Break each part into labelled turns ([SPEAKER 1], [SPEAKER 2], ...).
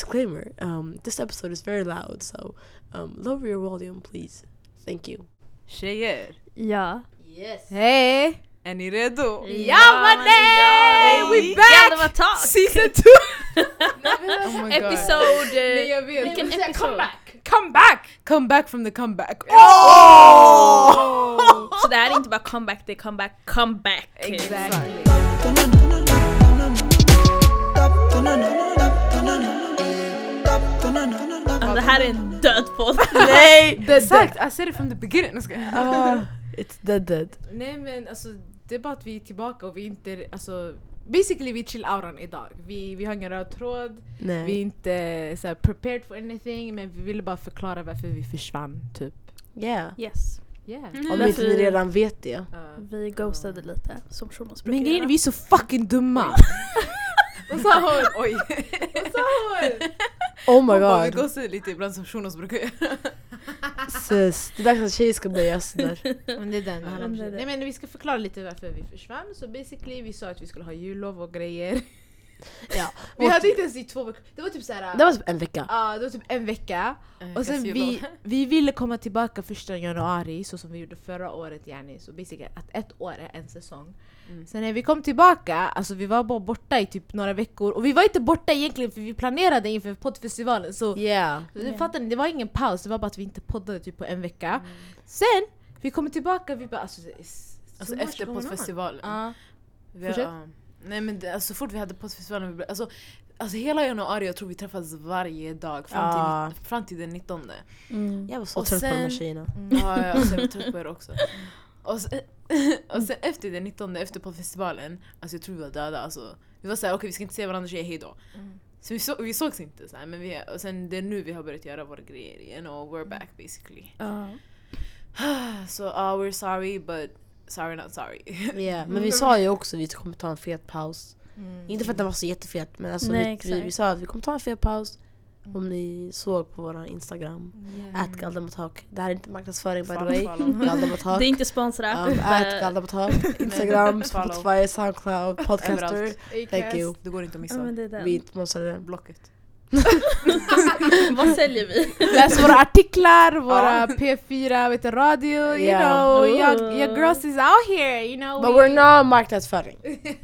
[SPEAKER 1] Disclaimer um, this episode is very loud, so um, lower your volume, please. Thank you.
[SPEAKER 2] Tjejer,
[SPEAKER 3] Ja.
[SPEAKER 1] Yes.
[SPEAKER 3] Hej!
[SPEAKER 2] är ni redo?
[SPEAKER 3] Ja men nej!
[SPEAKER 2] ja, we
[SPEAKER 3] back!
[SPEAKER 2] back!
[SPEAKER 3] det var tak!
[SPEAKER 2] Season 2!
[SPEAKER 4] alltså-
[SPEAKER 2] oh my god.
[SPEAKER 3] Episode...
[SPEAKER 1] jag vet.
[SPEAKER 3] Vilken episod?
[SPEAKER 2] Come back! Come back from the comeback.
[SPEAKER 4] Oh!
[SPEAKER 3] Så det här är inte bara comeback, det är comeback, comeback!
[SPEAKER 2] Exactly.
[SPEAKER 3] Alltså, det här är en död podd.
[SPEAKER 1] Nej!
[SPEAKER 2] Exakt, I said it from the beginning. Jag skojar.
[SPEAKER 1] Ah, it's dead dead.
[SPEAKER 4] Nej men alltså det är bara att vi är tillbaka och vi är inte, alltså basically vi är chill-auran idag. Vi, vi har ingen röd tråd, vi är
[SPEAKER 1] Nej.
[SPEAKER 4] inte så här, prepared for anything men vi ville bara förklara varför vi försvann typ. Mm.
[SPEAKER 1] Yeah.
[SPEAKER 3] Yes.
[SPEAKER 4] Yeah.
[SPEAKER 1] Om inte ni redan vet det.
[SPEAKER 4] Uh,
[SPEAKER 3] Vi ghostade lite, som Shunos brukar
[SPEAKER 2] Men grejen är
[SPEAKER 3] göra.
[SPEAKER 2] vi är så fucking dumma.
[SPEAKER 4] vad sa hon?
[SPEAKER 2] Oj.
[SPEAKER 4] Vad sa hon?
[SPEAKER 1] Oh my
[SPEAKER 2] Hon bara, Vi
[SPEAKER 1] god.
[SPEAKER 2] går sig lite ibland som Shunos brukar göra.
[SPEAKER 1] Sis, det är dags att tjejer ska börja göra sådär.
[SPEAKER 4] Men det är den.
[SPEAKER 3] Ja, det är det.
[SPEAKER 4] Nej men vi ska förklara lite varför vi försvann. Så basically vi sa att vi skulle ha jullov och grejer.
[SPEAKER 1] Ja.
[SPEAKER 4] Vi hade inte ens i två veckor. Det var typ såhär,
[SPEAKER 1] Det
[SPEAKER 4] ja
[SPEAKER 1] var typ en vecka.
[SPEAKER 4] det var typ en vecka. Och sen vi, vi ville komma tillbaka första januari så som vi gjorde förra året yani. Så basically att ett år är en säsong. Sen när vi kom tillbaka, alltså vi var bara borta i typ några veckor. Och vi var inte borta egentligen för vi planerade inför poddfestivalen. Så
[SPEAKER 1] Yeah.
[SPEAKER 3] Yeah.
[SPEAKER 4] yeah. fattar ni, det var ingen paus, det var bara att vi inte poddade typ på en vecka. Sen, vi kommer tillbaka, vi bara alltså... it's- it's
[SPEAKER 2] Alltså
[SPEAKER 4] so much
[SPEAKER 2] efter
[SPEAKER 4] going on.
[SPEAKER 2] poddfestivalen.
[SPEAKER 4] Ja.
[SPEAKER 2] Vi,
[SPEAKER 4] Fortsätt.
[SPEAKER 2] ja. nej men det, alltså, så fort vi hade poddfestivalen, vi blev- alltså, alltså hela januari jag tror vi träffades varje dag fram till,
[SPEAKER 1] Ja.
[SPEAKER 2] fram till den 19.
[SPEAKER 3] Mm.
[SPEAKER 1] Ah. Jag var så
[SPEAKER 2] Och
[SPEAKER 1] trött på de här
[SPEAKER 2] sen-
[SPEAKER 1] tjejerna.
[SPEAKER 4] Mm.
[SPEAKER 2] Ja, ja, alltså, jag var trött på er också. Och sen, och sen efter den 19, efter poddfestivalen, alltså jag tror vi var döda. Alltså, vi var såhär, okej vi ska inte se varandra tjejer, hejdå. Så vi, så, vi sågs inte såhär, men vi, och sen det är nu vi har börjat göra våra grejer igen och
[SPEAKER 3] Mm.
[SPEAKER 2] we're back basically.
[SPEAKER 3] Ja.
[SPEAKER 2] Så ah, we're sorry but sorry not sorry.
[SPEAKER 1] Yeah.
[SPEAKER 2] Mm.
[SPEAKER 1] Men vi sa ju också att vi kommer ta en fet paus.
[SPEAKER 4] Mm.
[SPEAKER 1] Inte för att den var så jättefet men alltså
[SPEAKER 3] Nej,
[SPEAKER 1] vi, vi, vi
[SPEAKER 3] exakt.
[SPEAKER 1] sa att vi kommer ta en fet paus. Om ni såg på våra instagram. Ät Galdamotak. Det här är inte marknadsföring by the way.
[SPEAKER 2] Follow.
[SPEAKER 1] Galdamotak.
[SPEAKER 3] Det är inte Eh, sponsrat.
[SPEAKER 1] Um, ät Galdamotak. Instagram,
[SPEAKER 2] Follow.
[SPEAKER 1] Spotify, Soundcloud, Podcaster.
[SPEAKER 2] Överallt.
[SPEAKER 1] Thank you.
[SPEAKER 2] Det går inte att
[SPEAKER 3] Ja, men
[SPEAKER 2] missa.
[SPEAKER 3] det är
[SPEAKER 1] liksom.
[SPEAKER 3] den.
[SPEAKER 1] Vi är inte sponsrade.
[SPEAKER 3] Oh,
[SPEAKER 2] Blocket.
[SPEAKER 3] Vad säljer vi?
[SPEAKER 4] Läs våra artiklar, våra P4, vet du, radio, you
[SPEAKER 1] Yeah.
[SPEAKER 4] know,
[SPEAKER 3] Ooh.
[SPEAKER 4] your, your girls is out here, you know.
[SPEAKER 1] But
[SPEAKER 4] we-
[SPEAKER 1] we're not marknadsföring.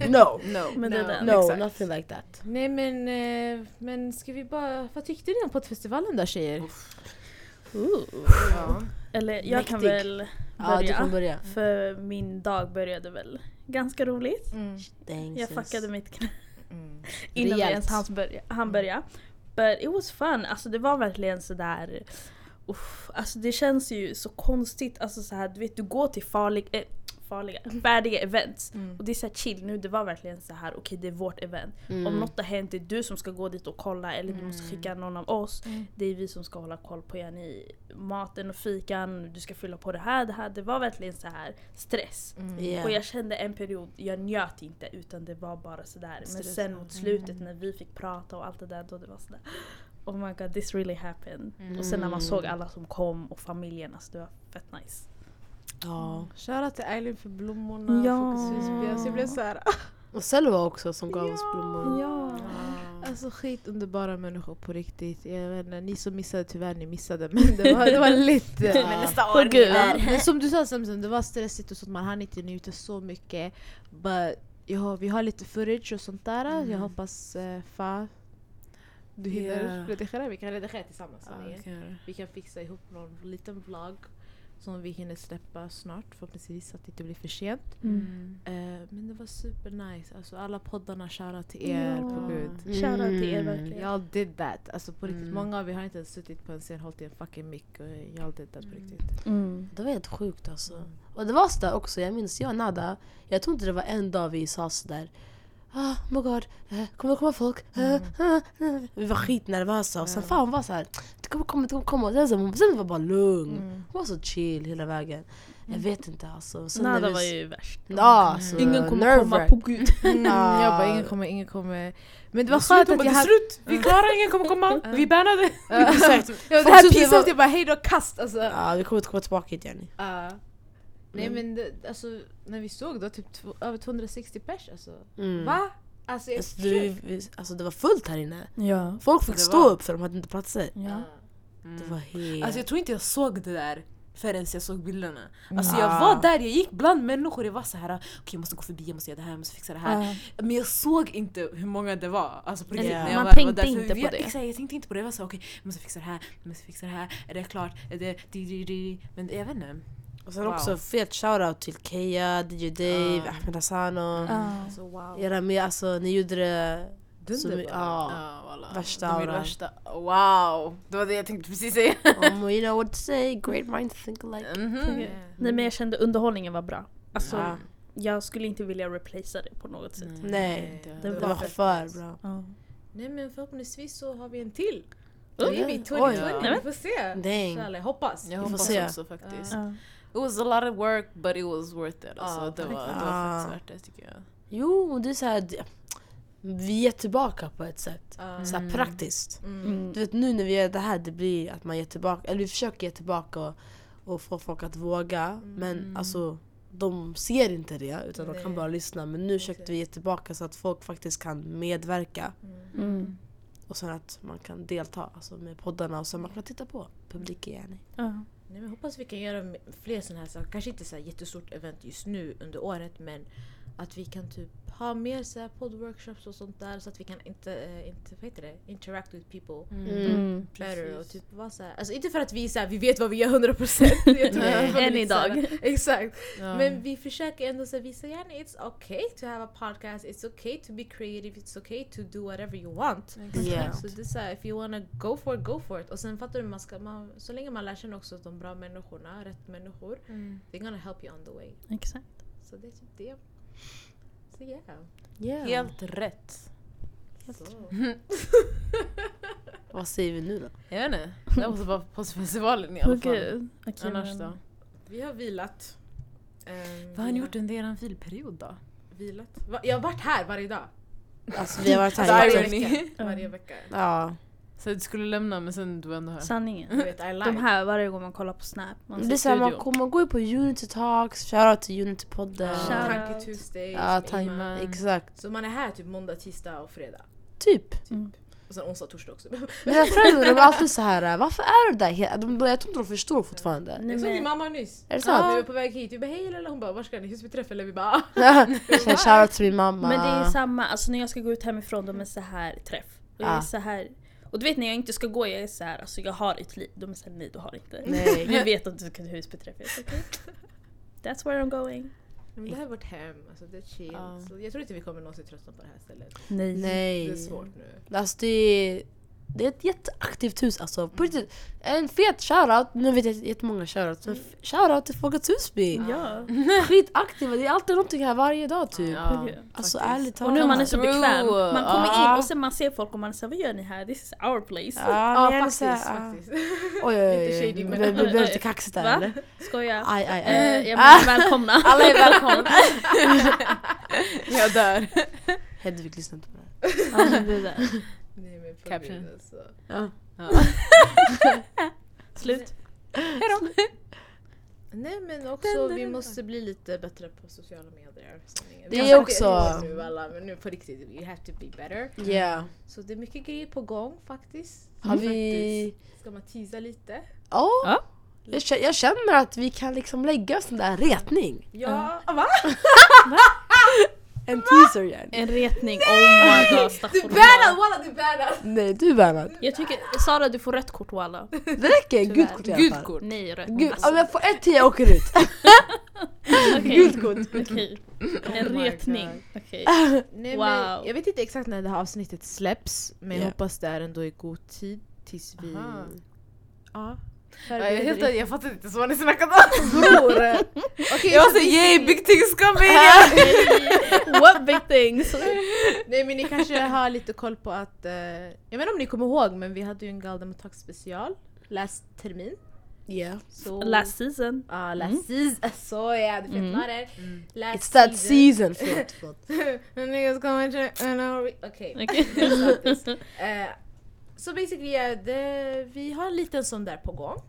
[SPEAKER 1] No.
[SPEAKER 2] No.
[SPEAKER 3] Men det är den.
[SPEAKER 1] No,
[SPEAKER 2] Exakt.
[SPEAKER 1] nothing like that.
[SPEAKER 4] Nej men, eh, men ska vi bara, vad tyckte ni om poddfestivalen då tjejer?
[SPEAKER 2] Ja.
[SPEAKER 3] Eller jag kan
[SPEAKER 1] Mäktig.
[SPEAKER 3] väl
[SPEAKER 1] Ja, du
[SPEAKER 3] börja.
[SPEAKER 1] kan börja.
[SPEAKER 3] För min dag började väl ganska roligt.
[SPEAKER 1] Thanks,
[SPEAKER 3] Jag
[SPEAKER 1] sis.
[SPEAKER 3] fuckade mitt knä innan vi
[SPEAKER 1] Rejält.
[SPEAKER 3] ens hann börja. Han börja. But it was fun. Alltså det var verkligen sådär... Uff, alltså det känns ju så konstigt. Alltså så här, du vet du går till farlig, eh, farliga, färdiga events. Och det är så här chill nu. Det var verkligen så här, okej det är vårt event. Om något har hänt, det är du som ska gå dit och kolla eller du måste skicka någon av oss. Det är vi som ska hålla koll på er. Ni, maten och fikan, du ska fylla på det här, det här. Det var verkligen så här stress.
[SPEAKER 1] Yeah.
[SPEAKER 3] Och jag kände en period, jag njöt inte utan det var bara sådär. Men
[SPEAKER 2] Stress.
[SPEAKER 3] sen mot slutet när vi fick prata och allt det där då det var sådär Oh my god this really happened. Och sen när man såg alla som kom och familjen, alltså det var fett nice.
[SPEAKER 1] Ja.
[SPEAKER 4] Shoutout till Eileen för blommorna,
[SPEAKER 3] Ja.
[SPEAKER 4] Fokus Husby. Alltså jag blev såhär, ah,
[SPEAKER 1] Och Selva också som gav oss blommor.
[SPEAKER 3] Ja.
[SPEAKER 4] alltså skitunderbara människor på riktigt. Jag vet inte, ni som missade tyvärr ni missade men det var, det var lite...
[SPEAKER 1] Men
[SPEAKER 4] ja.
[SPEAKER 2] Nästa
[SPEAKER 3] Åh gud.
[SPEAKER 4] Ja, men som du sa Samson, det var stressigt och sånt, man hann inte njuta så mycket. But ja, vi har lite footage och sånt där.
[SPEAKER 2] Mm.
[SPEAKER 4] Jag hoppas eh, Fa, du hinner
[SPEAKER 2] Yeah.
[SPEAKER 4] redigera, vi kan redigera tillsammans.
[SPEAKER 2] Ja,
[SPEAKER 4] om ni-
[SPEAKER 2] vi kan göra det.
[SPEAKER 4] Vi kan fixa ihop någon liten vlogg som vi hinner släppa snart förhoppningsvis så att det inte blir för sent.
[SPEAKER 2] Mm.
[SPEAKER 4] Eh, men det var supernice, alltså alla poddarna shoutout till er
[SPEAKER 3] Ja.
[SPEAKER 4] på gud.
[SPEAKER 3] Shoutout till er verkligen.
[SPEAKER 4] Y'all did that, alltså på riktigt.
[SPEAKER 2] Mm.
[SPEAKER 4] Många av er har inte ens suttit på en scen, hållit i en fucking mick och y'all did that på riktigt.
[SPEAKER 3] Mm.
[SPEAKER 1] Det var helt sjukt alltså. Och det var sådär också, jag minns jag och Nada, jag tror inte det var en dag vi sa sådär Ah, oh my god, eh, kommer det komma folk? Eh, eh, eh." Vi var skitnervösa och sen fan hon var såhär, det kommer komma, det kommer komma. Och Sen, så, hon- sen var bara lugn. Hon var så chill hela vägen. Jag vet inte alltså. Sen när
[SPEAKER 3] Nada
[SPEAKER 1] vi-
[SPEAKER 3] var ju värst.
[SPEAKER 1] Ja, alltså,
[SPEAKER 3] Ingen kommer komma
[SPEAKER 1] nerve-wrack.
[SPEAKER 3] på gud.
[SPEAKER 4] Mm,
[SPEAKER 1] Ah.
[SPEAKER 4] jag bara ingen kommer, ingen kommer. Men det var
[SPEAKER 2] Det var
[SPEAKER 4] skönt
[SPEAKER 2] slut,
[SPEAKER 4] att
[SPEAKER 2] det
[SPEAKER 4] jag
[SPEAKER 2] är
[SPEAKER 4] hade...
[SPEAKER 2] slut! Vi är klara, ingen kommer komma! Vi bannade!
[SPEAKER 1] Exakt.
[SPEAKER 4] Ja, det
[SPEAKER 1] typ. Folk
[SPEAKER 4] här
[SPEAKER 1] tyckte det
[SPEAKER 4] pinsamt,
[SPEAKER 1] var-
[SPEAKER 4] jag bara hejdå kast alltså.
[SPEAKER 1] Ja, Mm. vi kommer inte komma tillbaka hit Jenny.
[SPEAKER 4] Ah. Nej men det, alltså när vi såg då typ två, över 260 pers alltså.
[SPEAKER 1] Mm.
[SPEAKER 4] Va? Alltså, jag
[SPEAKER 1] Alltså, du, vi- alltså det var fullt här inne.
[SPEAKER 5] Ja.
[SPEAKER 1] Folk fick
[SPEAKER 2] Det
[SPEAKER 1] stå
[SPEAKER 2] var-
[SPEAKER 1] upp för de hade inte platser.
[SPEAKER 5] ja.
[SPEAKER 3] Mm.
[SPEAKER 1] Det var helt...
[SPEAKER 2] Alltså jag tror inte jag såg det där förrän jag såg bilderna. Alltså
[SPEAKER 1] Mm.
[SPEAKER 2] jag
[SPEAKER 1] Ah.
[SPEAKER 2] var där, jag gick bland människor, jag var så här, okej jag måste gå förbi, jag måste göra det här, jag måste fixa det här.
[SPEAKER 5] Ja.
[SPEAKER 2] Men jag såg inte hur många det var. Alltså på
[SPEAKER 1] Men
[SPEAKER 2] riktigt.
[SPEAKER 1] man
[SPEAKER 2] när jag var,
[SPEAKER 5] tänkte
[SPEAKER 2] var där. För
[SPEAKER 5] inte
[SPEAKER 2] vi-
[SPEAKER 5] på det.
[SPEAKER 2] Exakt, jag tänkte inte på det. Jag var så här, okej, jag måste fixa det här, jag måste fixa det här, är det klart? Är det, di, di, di. Men jag vet inte.
[SPEAKER 1] och sen
[SPEAKER 2] wow.
[SPEAKER 1] också fet shoutout till Keya, DJ Dave,
[SPEAKER 2] Ah.
[SPEAKER 1] Ahmed Hasano.
[SPEAKER 5] Ja.
[SPEAKER 4] alltså, wow.
[SPEAKER 1] Era med, alltså ni gjorde det... så
[SPEAKER 4] Dunderbar.
[SPEAKER 1] my- ja.
[SPEAKER 2] Ja, voilà.
[SPEAKER 1] Värsta
[SPEAKER 2] De gjorde
[SPEAKER 1] auran.
[SPEAKER 2] värsta. Wow! Det var det jag tänkte precis säga.
[SPEAKER 1] Om you know what to say, great mind think alike.
[SPEAKER 4] Mm.
[SPEAKER 2] Mhm.
[SPEAKER 3] Nej men jag kände underhållningen var bra. Alltså,
[SPEAKER 1] Ja. Mm.
[SPEAKER 3] jag skulle inte vilja replacea det på något sätt.
[SPEAKER 1] Nej,
[SPEAKER 3] det
[SPEAKER 1] det var för bra.
[SPEAKER 5] Ja.
[SPEAKER 4] Nej men förhoppningsvis så har vi en till.
[SPEAKER 1] Oj.
[SPEAKER 4] Maybe
[SPEAKER 1] Oj.
[SPEAKER 4] 2020,
[SPEAKER 3] Nej, men-
[SPEAKER 4] vi får se.
[SPEAKER 1] Dang.
[SPEAKER 4] Snälla, jag hoppas.
[SPEAKER 2] Jag
[SPEAKER 1] Vi får
[SPEAKER 2] hoppas
[SPEAKER 1] se.
[SPEAKER 2] också faktiskt.
[SPEAKER 5] Ja.
[SPEAKER 2] It was a lot of work but it was worth it. Alltså,
[SPEAKER 4] Ja,
[SPEAKER 2] det, var, det
[SPEAKER 1] verkligen.
[SPEAKER 2] var faktiskt värt det tycker jag.
[SPEAKER 1] Jo, det är så här, det- vi är tillbaka på ett sätt.
[SPEAKER 4] Ja.
[SPEAKER 1] Så här
[SPEAKER 2] Mm.
[SPEAKER 1] praktiskt.
[SPEAKER 4] Mm.
[SPEAKER 3] Mm.
[SPEAKER 1] Du vet nu när vi gör det här, det blir att man ger tillbaka, eller vi försöker ge tillbaka och, och få folk att våga. Men alltså, de ser inte det utan de kan
[SPEAKER 4] Nej.
[SPEAKER 1] bara lyssna. Men nu försökte vi ge tillbaka så att folk faktiskt kan medverka.
[SPEAKER 5] Mm.
[SPEAKER 1] Och sen att man kan delta alltså, med poddarna och sen man kan titta på. Publik igen.
[SPEAKER 5] Ja.
[SPEAKER 4] Nej, men jag hoppas vi kan göra m- fler sådana här saker. Kanske inte så här jättestort event just nu under året men att vi kan typ ha mer så här poddworkshops och sånt där så att vi kan inte, eh, inte vad heter det, interact with people
[SPEAKER 1] Mm.
[SPEAKER 4] better och typ vara så här. Alltså inte för att vi så här, vi vet vad vi gör 100% Jag tror
[SPEAKER 2] Nej.
[SPEAKER 4] att vi
[SPEAKER 3] Än
[SPEAKER 4] lite så här-
[SPEAKER 3] idag.
[SPEAKER 4] Exakt.
[SPEAKER 2] Ja.
[SPEAKER 4] Men vi försöker ändå så här, visa gärna it's okay to have a podcast, it's okay to be creative, it's okay to do whatever you want.
[SPEAKER 1] Yeah.
[SPEAKER 4] Så det är såhär, if you wanna go for it, go for it. Och sen fattar du, man ska, man, så länge man lär känna också de bra människorna, rätt människor,
[SPEAKER 2] Mm.
[SPEAKER 4] they're gonna help you on the way.
[SPEAKER 5] Exakt.
[SPEAKER 4] Så det är typ det. Så yeah.
[SPEAKER 1] Yeah.
[SPEAKER 2] Helt rätt.
[SPEAKER 4] Så.
[SPEAKER 1] Vad säger vi nu då?
[SPEAKER 2] Jag vet inte. Det var bara på festivalen i alla fall.
[SPEAKER 5] Okej. Okej,
[SPEAKER 2] Annars
[SPEAKER 5] men-
[SPEAKER 2] då?
[SPEAKER 4] Ehm, Vi har vilat. Ehm,
[SPEAKER 2] Vad har ni
[SPEAKER 4] vila-
[SPEAKER 2] gjort under er filperiod då?
[SPEAKER 4] Vilat? Va? Jag har varit här varje dag.
[SPEAKER 1] Alltså vi har varit här
[SPEAKER 2] Alltså,
[SPEAKER 1] i
[SPEAKER 2] är
[SPEAKER 1] veckan.
[SPEAKER 2] ni-
[SPEAKER 4] vecka. Varje vecka.
[SPEAKER 1] Ja.
[SPEAKER 2] Så du skulle lämna men sen du var ändå här?
[SPEAKER 4] Du
[SPEAKER 5] Sanningen.
[SPEAKER 4] vet, I
[SPEAKER 3] De
[SPEAKER 4] lied.
[SPEAKER 3] här varje gång man kollar på Snap, man
[SPEAKER 1] Det är
[SPEAKER 3] ser
[SPEAKER 1] så här, man,
[SPEAKER 3] studion.
[SPEAKER 1] kommer- man går ju på Unity Talks, shoutout till Unity-podden.
[SPEAKER 2] Ja.
[SPEAKER 1] Ja,
[SPEAKER 5] Shout-
[SPEAKER 4] Tanky Tuesday.
[SPEAKER 1] ja
[SPEAKER 4] som
[SPEAKER 1] time,
[SPEAKER 4] Iman.
[SPEAKER 2] Iman.
[SPEAKER 1] exakt.
[SPEAKER 4] Så man är här typ måndag, tisdag och fredag.
[SPEAKER 1] Typ.
[SPEAKER 4] Och sen onsdag, torsdag också.
[SPEAKER 1] Mina föräldrar de är alltid så här. varför är du där? hela- De, de, jag tror inte de förstår fortfarande.
[SPEAKER 4] Jag
[SPEAKER 3] Nej,
[SPEAKER 4] såg din
[SPEAKER 3] men-
[SPEAKER 4] mamma nyss.
[SPEAKER 1] Är det
[SPEAKER 4] Ja, Vi var
[SPEAKER 1] sant?
[SPEAKER 4] på väg hit, vi bara hej lalla. Hon bara var ska ni? Hur ska vi träffa? Eller vi bara "Ah."
[SPEAKER 1] Shout- Shoutout till min mamma.
[SPEAKER 3] Men det är samma, alltså när jag ska gå ut hemifrån de är så här träff. Och jag
[SPEAKER 1] Ja.
[SPEAKER 3] är så här. Och du vet när jag inte ska gå, jag är så här, alltså jag har ett liv. De är såhär, nej du har inte.
[SPEAKER 1] Nej.
[SPEAKER 3] Vi vet att du kan husbeträff. Jag är så, "Okej." That's where I'm going.
[SPEAKER 4] Men det här är vårt hem, alltså det är chill.
[SPEAKER 2] Ja.
[SPEAKER 4] Så jag tror inte vi kommer någonsin tröttna på det här stället.
[SPEAKER 5] Nej.
[SPEAKER 1] Nej.
[SPEAKER 4] Det är svårt nu.
[SPEAKER 1] Alltså det är, det är ett jätteaktivt hus alltså. På riktigt. En fet shoutout, nu vet jag jättemånga shoutouts, men f- shoutout till Folkets Husby.
[SPEAKER 3] Ja.
[SPEAKER 1] Skitaktiva, det är alltid någonting här varje dag typ.
[SPEAKER 2] Ja,
[SPEAKER 3] okej.
[SPEAKER 1] Alltså
[SPEAKER 2] faktiskt.
[SPEAKER 1] ärligt talat.
[SPEAKER 3] Och nu är man är så
[SPEAKER 2] True.
[SPEAKER 3] bekväm. Man kommer
[SPEAKER 1] Ja.
[SPEAKER 3] in och sen man ser folk och man säger vad gör ni här? This is our place.
[SPEAKER 1] Ja,
[SPEAKER 4] Ja
[SPEAKER 1] men jag är
[SPEAKER 4] faktiskt,
[SPEAKER 1] så här, ah.
[SPEAKER 4] faktiskt.
[SPEAKER 1] Oj, oj, oj.
[SPEAKER 4] Inte
[SPEAKER 1] oj.
[SPEAKER 4] shady,
[SPEAKER 1] Vi
[SPEAKER 4] men-
[SPEAKER 1] behöver- vi behöver inte kaxigt där
[SPEAKER 3] Va?
[SPEAKER 1] eller?
[SPEAKER 3] Skoja.
[SPEAKER 1] Aj, aj, aj.
[SPEAKER 3] Eh, jag menar välkomna.
[SPEAKER 2] Alla är välkomna. jag dör.
[SPEAKER 1] Hedvig lyssnar inte på det här.
[SPEAKER 4] Nej men på
[SPEAKER 2] Caption.
[SPEAKER 4] gud alltså.
[SPEAKER 3] Slut.
[SPEAKER 4] Nej men också vi måste bli lite bättre på sociala medier. sanningen.
[SPEAKER 1] Det
[SPEAKER 4] Vi har
[SPEAKER 1] är
[SPEAKER 4] sagt
[SPEAKER 1] också-
[SPEAKER 4] ett år nu alla men nu på riktigt, you have to be better.
[SPEAKER 1] Yeah.
[SPEAKER 4] Så det är mycket grejer på gång faktiskt. Mm.
[SPEAKER 1] Har vi...
[SPEAKER 4] Ska man teasa lite?
[SPEAKER 1] Ja.
[SPEAKER 5] Ja.
[SPEAKER 1] Jag kä- Jag känner att vi kan liksom lägga en sån där retning.
[SPEAKER 4] Ja, va?
[SPEAKER 1] En teaser igen.
[SPEAKER 3] En retning. Oh my god.
[SPEAKER 4] Du
[SPEAKER 3] staffan.
[SPEAKER 4] bannad walla du bannad!
[SPEAKER 1] Nej, du Bernhard.
[SPEAKER 3] Jag tycker Sara du får rött kort Walla.
[SPEAKER 1] Det räcker, gult kort i alla fall.
[SPEAKER 2] Gult kort.
[SPEAKER 3] Nej rött.
[SPEAKER 1] Gud,
[SPEAKER 3] Alltså,
[SPEAKER 1] om jag får ett till jag åker ut.
[SPEAKER 3] okej.
[SPEAKER 1] Gult kort.
[SPEAKER 3] Okej. En
[SPEAKER 4] my
[SPEAKER 3] retning. Okej.
[SPEAKER 1] Ah,
[SPEAKER 4] Nej,
[SPEAKER 3] Wow.
[SPEAKER 4] men jag vet inte exakt när det här avsnittet släpps men
[SPEAKER 1] Ja.
[SPEAKER 4] jag hoppas det är ändå i god tid tills vi...
[SPEAKER 2] Aha.
[SPEAKER 4] Ja.
[SPEAKER 2] Ja, jag, helt,
[SPEAKER 4] Förbereder
[SPEAKER 2] jag fattar inte så vad ni snackade om.
[SPEAKER 4] bror! Okej,
[SPEAKER 2] Jag
[SPEAKER 4] så
[SPEAKER 2] var
[SPEAKER 4] vi-
[SPEAKER 2] såhär yay big things coming!
[SPEAKER 3] What big things?
[SPEAKER 4] Nej men ni kanske har lite koll på att... Eh, jag vet inte om ni kommer ihåg men vi hade ju en Galdemotak special last termin.
[SPEAKER 1] Yeah.
[SPEAKER 4] Så,
[SPEAKER 3] Last season.
[SPEAKER 4] ah, last season. Så ja, du förklarar. Mm. Last
[SPEAKER 1] Mm. It's that season. Förlåt, förlåt.
[SPEAKER 4] Niggas coming to... and I'll re- Okej.
[SPEAKER 3] Okej.
[SPEAKER 4] Eh, Så basically, eh, det, vi har en liten sån där på gång.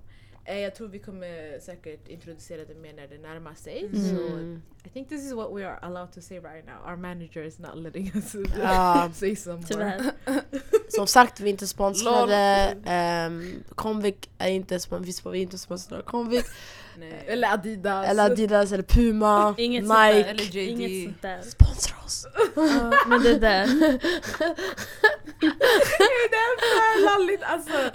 [SPEAKER 4] Eh, Jag tror vi kommer säkert introducera det mer när det närmar sig.
[SPEAKER 2] Mm.
[SPEAKER 4] Så
[SPEAKER 1] Mm.
[SPEAKER 4] I think this is what we are allowed to say right now. Our manager is not letting us
[SPEAKER 1] Ja,
[SPEAKER 4] say some more.
[SPEAKER 3] Tyvärr.
[SPEAKER 1] som sagt, vi är inte sponsrade. Um, Comviq är inte, spon- vi sp- vi är inte sponsrade av Comviq.
[SPEAKER 2] Nej.
[SPEAKER 4] Eh, Eller Adidas.
[SPEAKER 1] Eller Adidas eller Puma.
[SPEAKER 3] Inget sånt
[SPEAKER 1] Nike.
[SPEAKER 3] där.
[SPEAKER 2] Eller JD.
[SPEAKER 3] Inget sånt där.
[SPEAKER 1] Sponsra oss!
[SPEAKER 3] Ja, men det där.
[SPEAKER 4] Lalligt alltså.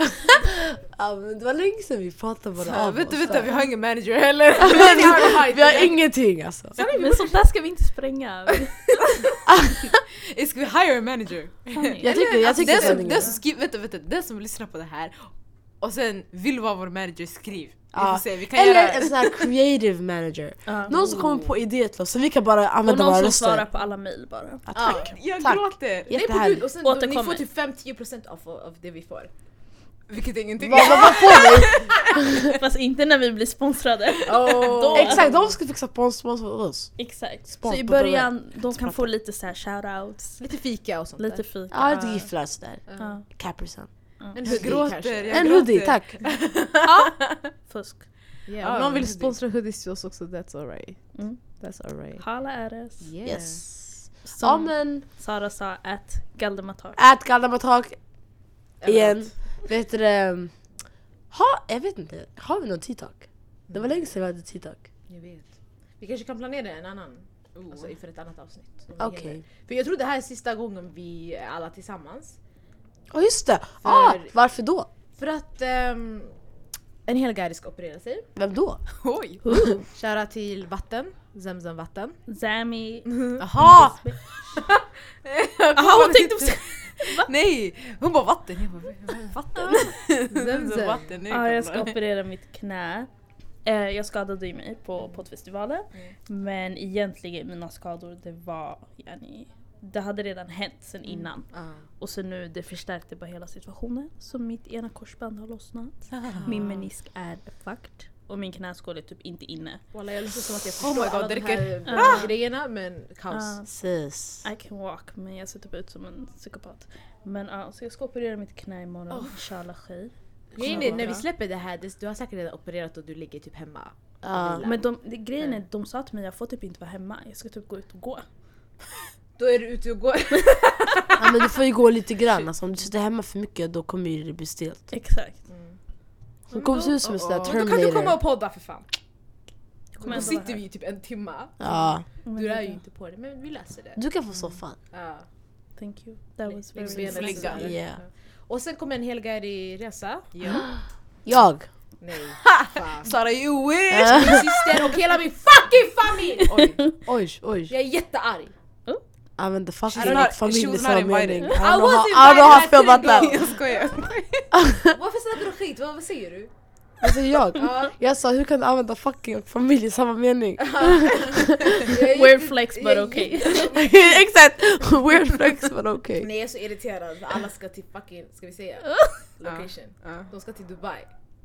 [SPEAKER 1] Ja, men det var länge sedan vi pratade bara
[SPEAKER 2] Ja,
[SPEAKER 1] av
[SPEAKER 2] vänta,
[SPEAKER 1] oss.
[SPEAKER 2] vänta, vi har ingen manager heller. vi har
[SPEAKER 1] alltså. vi har ingenting alltså.
[SPEAKER 3] Men sånt där ska vi inte spränga.
[SPEAKER 2] ingen- Ska vi hire a manager?
[SPEAKER 1] Jag tycker, jag
[SPEAKER 2] Alltså,
[SPEAKER 1] tycker
[SPEAKER 2] den,
[SPEAKER 1] det är
[SPEAKER 2] som,
[SPEAKER 1] ingen-
[SPEAKER 2] den, som skriver, vänta, vänta, den som lyssnar på det här och sen vill vara vår manager, skriv. Vi
[SPEAKER 1] Ja.
[SPEAKER 2] får se, vi kan
[SPEAKER 1] Eller en
[SPEAKER 2] göra...
[SPEAKER 1] sån här creative manager.
[SPEAKER 3] Ja.
[SPEAKER 1] Någon som kommer på idéer till oss så vi kan bara
[SPEAKER 3] Och
[SPEAKER 1] använda
[SPEAKER 3] någon
[SPEAKER 1] våra
[SPEAKER 3] som svarar
[SPEAKER 1] röster.
[SPEAKER 3] på alla mejl bara.
[SPEAKER 1] Ja,
[SPEAKER 2] Ja,
[SPEAKER 1] tack!
[SPEAKER 2] jag
[SPEAKER 1] Tack.
[SPEAKER 2] gråter!
[SPEAKER 4] Nej på gud,
[SPEAKER 1] Jättehärligt.
[SPEAKER 4] och sen då, ni
[SPEAKER 3] Återkommer.
[SPEAKER 4] får typ 5-10% av, av det vi får.
[SPEAKER 2] Vilket är ingenting.
[SPEAKER 1] Vad, vad, vad får vi?
[SPEAKER 3] Fast inte när vi blir sponsrade.
[SPEAKER 4] Oh.
[SPEAKER 1] Exakt, de ska fixa spons spons för oss.
[SPEAKER 3] Exakt. Så
[SPEAKER 1] Spons
[SPEAKER 3] i
[SPEAKER 1] på
[SPEAKER 3] början, de kan få lite så här shoutouts,
[SPEAKER 4] Lite fika och sånt
[SPEAKER 3] lite
[SPEAKER 4] där.
[SPEAKER 3] fika.
[SPEAKER 1] Ja, lite gifflar sådär.
[SPEAKER 3] Ja.
[SPEAKER 1] Capricen.
[SPEAKER 4] En
[SPEAKER 2] Jag
[SPEAKER 4] hoodie
[SPEAKER 2] gråter,
[SPEAKER 4] kanske.
[SPEAKER 2] jag
[SPEAKER 1] En
[SPEAKER 2] gråter.
[SPEAKER 1] hoodie, tack!
[SPEAKER 3] Fusk.
[SPEAKER 4] Yeah, om
[SPEAKER 2] Ja,
[SPEAKER 4] någon
[SPEAKER 2] en
[SPEAKER 4] vill
[SPEAKER 2] hoodie.
[SPEAKER 4] sponsra hoodies till oss också, that's alright.
[SPEAKER 3] Mm.
[SPEAKER 4] That's alright.
[SPEAKER 3] Hala RS.
[SPEAKER 4] Yeah.
[SPEAKER 1] Yes.
[SPEAKER 3] Som
[SPEAKER 1] Ja men,
[SPEAKER 3] Sara sa, ät Galdematar.
[SPEAKER 1] ät galdematak igen.
[SPEAKER 4] Eller
[SPEAKER 1] Vet du det? Ha, jag vet inte, har vi någon TikTok? Det var länge sedan vi hade TikTok.
[SPEAKER 4] något. Jag vet. Vi kanske kan planera en annan,
[SPEAKER 2] Oh.
[SPEAKER 4] alltså inför ett annat avsnitt. om vi
[SPEAKER 1] Okej.
[SPEAKER 4] hinner. För jag tror det här är sista gången vi är alla tillsammans.
[SPEAKER 1] Ja just det! Ah,
[SPEAKER 4] För-
[SPEAKER 1] varför då?
[SPEAKER 4] För att ehm, en hel guide ska operera sig.
[SPEAKER 1] Vem då?
[SPEAKER 2] Oj!
[SPEAKER 4] Köra till vatten, Zemzem vatten.
[SPEAKER 3] Zami.
[SPEAKER 2] Jaha!
[SPEAKER 3] Jaha hon tänkte på sig.
[SPEAKER 2] Nej! Hon bara vatten. Jag bara, "Vad- vatten?
[SPEAKER 4] Zemzem.
[SPEAKER 2] vatten nu
[SPEAKER 3] Ja, jag ska
[SPEAKER 2] kommer.
[SPEAKER 3] operera mitt knä. Eh, Jag skadade ju mig på poddfestivalen.
[SPEAKER 1] Mm.
[SPEAKER 3] Men egentligen mina skador det var, yani, det hade redan hänt sen
[SPEAKER 1] Mm.
[SPEAKER 3] innan.
[SPEAKER 4] Ah.
[SPEAKER 3] Och sen nu det förstärkte bara hela situationen. Så mitt ena korsband har lossnat. Min menisk är fucked. Och min knäskål är typ inte inne.
[SPEAKER 4] Walla jag låter som att jag
[SPEAKER 2] Oh my
[SPEAKER 4] förstår
[SPEAKER 2] God,
[SPEAKER 4] alla de
[SPEAKER 2] dricker.
[SPEAKER 4] här eh, grejerna men kaos.
[SPEAKER 3] Ah.
[SPEAKER 1] Sis.
[SPEAKER 3] I can walk men jag ser typ ut som en psykopat. Men ja, så jag ska operera mitt knä imorgon. Inshallah oh.
[SPEAKER 4] Nej nej, när vi släpper det här, det- du har säkert redan opererat och du ligger typ hemma.
[SPEAKER 1] Ja.
[SPEAKER 3] Men de, de, grejen är de sa till mig jag får typ inte vara hemma. Jag ska typ gå ut och gå.
[SPEAKER 4] Då är du ute och går.
[SPEAKER 1] ja, men du får ju gå lite grann alltså, om du sitter hemma för mycket då kommer ju det bli stelt.
[SPEAKER 3] Exakt.
[SPEAKER 1] Hon kommer se ut som en sån där
[SPEAKER 4] Men då kan du komma
[SPEAKER 1] Terminator.
[SPEAKER 4] och podda för fan.
[SPEAKER 3] Jag
[SPEAKER 4] Då
[SPEAKER 3] ändå vara
[SPEAKER 4] sitter
[SPEAKER 3] här.
[SPEAKER 4] vi ju typ en timma.
[SPEAKER 1] Ja.
[SPEAKER 3] Men
[SPEAKER 4] Du
[SPEAKER 3] det
[SPEAKER 4] är
[SPEAKER 3] är
[SPEAKER 4] ju
[SPEAKER 3] bra.
[SPEAKER 4] inte på det men vi löser det.
[SPEAKER 1] Du kan få soffan.
[SPEAKER 4] Ja.
[SPEAKER 3] Thank you. That was
[SPEAKER 4] Längs
[SPEAKER 3] very
[SPEAKER 4] benen
[SPEAKER 2] Flicka.
[SPEAKER 4] sådär.
[SPEAKER 1] Yeah.
[SPEAKER 4] Och sen kommer en helgardig resa.
[SPEAKER 2] Ja.
[SPEAKER 1] Jag!
[SPEAKER 4] Nej. fan.
[SPEAKER 2] Sara you wish!
[SPEAKER 1] Äh.
[SPEAKER 4] Min syster och hela min fucking familj!
[SPEAKER 2] Oj.
[SPEAKER 1] Oj, oj.
[SPEAKER 4] Jag är jättearg.
[SPEAKER 1] Ja men the fuck
[SPEAKER 2] She's
[SPEAKER 1] är
[SPEAKER 2] not-
[SPEAKER 1] ditt familj
[SPEAKER 2] she
[SPEAKER 1] i
[SPEAKER 2] was
[SPEAKER 1] samma
[SPEAKER 2] not invited.
[SPEAKER 1] mening. I
[SPEAKER 4] I
[SPEAKER 1] don't know
[SPEAKER 4] was
[SPEAKER 1] how- I don't know how I feel
[SPEAKER 4] invited,
[SPEAKER 1] about that.
[SPEAKER 2] Jag skojar.
[SPEAKER 4] Varför snackar du skit? Vad, vad säger du?
[SPEAKER 1] Alltså jag.
[SPEAKER 4] Ja.
[SPEAKER 1] Jag sa hur kan du använda fucking och familj i samma mening?
[SPEAKER 4] Jag är
[SPEAKER 3] Weird
[SPEAKER 4] jätte-
[SPEAKER 3] flex
[SPEAKER 4] jag
[SPEAKER 3] but
[SPEAKER 4] är
[SPEAKER 3] okay.
[SPEAKER 1] Exakt! Weird flex men okej.
[SPEAKER 4] Nej jag är så irriterad för alla ska till fucking, ska vi säga? Location.
[SPEAKER 2] Ja.
[SPEAKER 4] De ska till Dubai.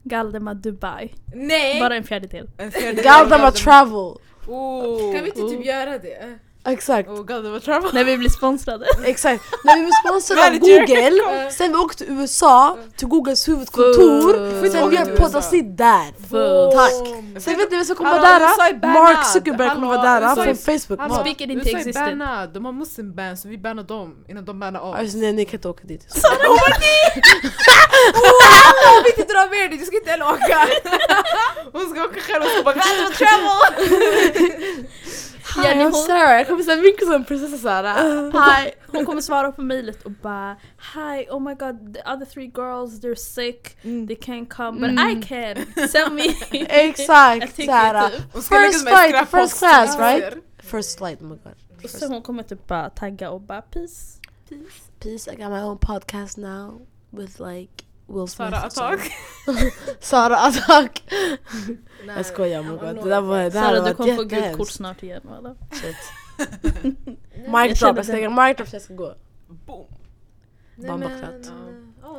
[SPEAKER 3] Galdemar Dubai.
[SPEAKER 4] Nej!
[SPEAKER 3] Bara en fjärdedel.
[SPEAKER 2] En fjärdedel av
[SPEAKER 1] Galdemar travel!
[SPEAKER 2] Oh.
[SPEAKER 4] Kan vi inte typ göra det?
[SPEAKER 1] Exakt,
[SPEAKER 2] Oh, Galdemar travel.
[SPEAKER 3] När vi blir sponsrade.
[SPEAKER 1] exakt. När vi blev sponsrade av
[SPEAKER 2] Manager.
[SPEAKER 1] Google, sen vi åkte till USA, till Googles huvudkontor,
[SPEAKER 3] Fuck.
[SPEAKER 1] sen vi gör ett poddavsnitt där.
[SPEAKER 3] Fuck.
[SPEAKER 1] Tack! Sen vet ni vem som kommer vara
[SPEAKER 2] Hallå, USA är
[SPEAKER 1] där?
[SPEAKER 2] bannad.
[SPEAKER 1] Mark Zuckerberg kommer
[SPEAKER 2] Hallå,
[SPEAKER 1] vara där, han
[SPEAKER 2] USA är-
[SPEAKER 1] från Facebook.
[SPEAKER 2] Hallå.
[SPEAKER 1] Mark.
[SPEAKER 3] Speak it into
[SPEAKER 2] USA är
[SPEAKER 3] existence.
[SPEAKER 2] bannad. De har muslim ban så vi bannar dem innan de bannar oss.
[SPEAKER 1] Alltså, nej, ni kan inte åka dit.
[SPEAKER 4] Jag vill inte dra med dig, du ska inte heller åka!
[SPEAKER 2] Hon ska åka själv och ska bara Galdemar travel!
[SPEAKER 1] Hi, I'm Sarah, jag kommer säga vinka som prinsessa Sara.
[SPEAKER 3] Hi. Hon kommer svara på mejlet och bara Hi, oh my god, the other three girls they're sick, they can't come but I can. Send me. Jag
[SPEAKER 1] Exakt
[SPEAKER 3] tycker
[SPEAKER 1] Sara.
[SPEAKER 3] typ.
[SPEAKER 2] Hon ska lägga
[SPEAKER 1] First
[SPEAKER 2] sig med
[SPEAKER 1] flight,
[SPEAKER 2] skräppost.
[SPEAKER 1] first class right? First flight, oh my god.
[SPEAKER 3] Och så hon kommer typ bara tagga och bara peace. peace.
[SPEAKER 1] Peace, I got my own podcast now with like Will Smith.
[SPEAKER 2] Sara
[SPEAKER 1] and so on.
[SPEAKER 2] attack.
[SPEAKER 1] Sara Attack! Jag skojar oh my god, det där var det här
[SPEAKER 3] Sara
[SPEAKER 1] var
[SPEAKER 3] du kommer få gult
[SPEAKER 1] jättehemskt.
[SPEAKER 3] kort snart igen eller?
[SPEAKER 1] Shit.
[SPEAKER 3] jag
[SPEAKER 1] Mic drop,
[SPEAKER 3] kände
[SPEAKER 1] jag ska
[SPEAKER 3] den.
[SPEAKER 1] lägga mic drop så jag ska gå.
[SPEAKER 2] Boom.
[SPEAKER 1] Bara
[SPEAKER 4] men,
[SPEAKER 1] backlat.
[SPEAKER 4] ja.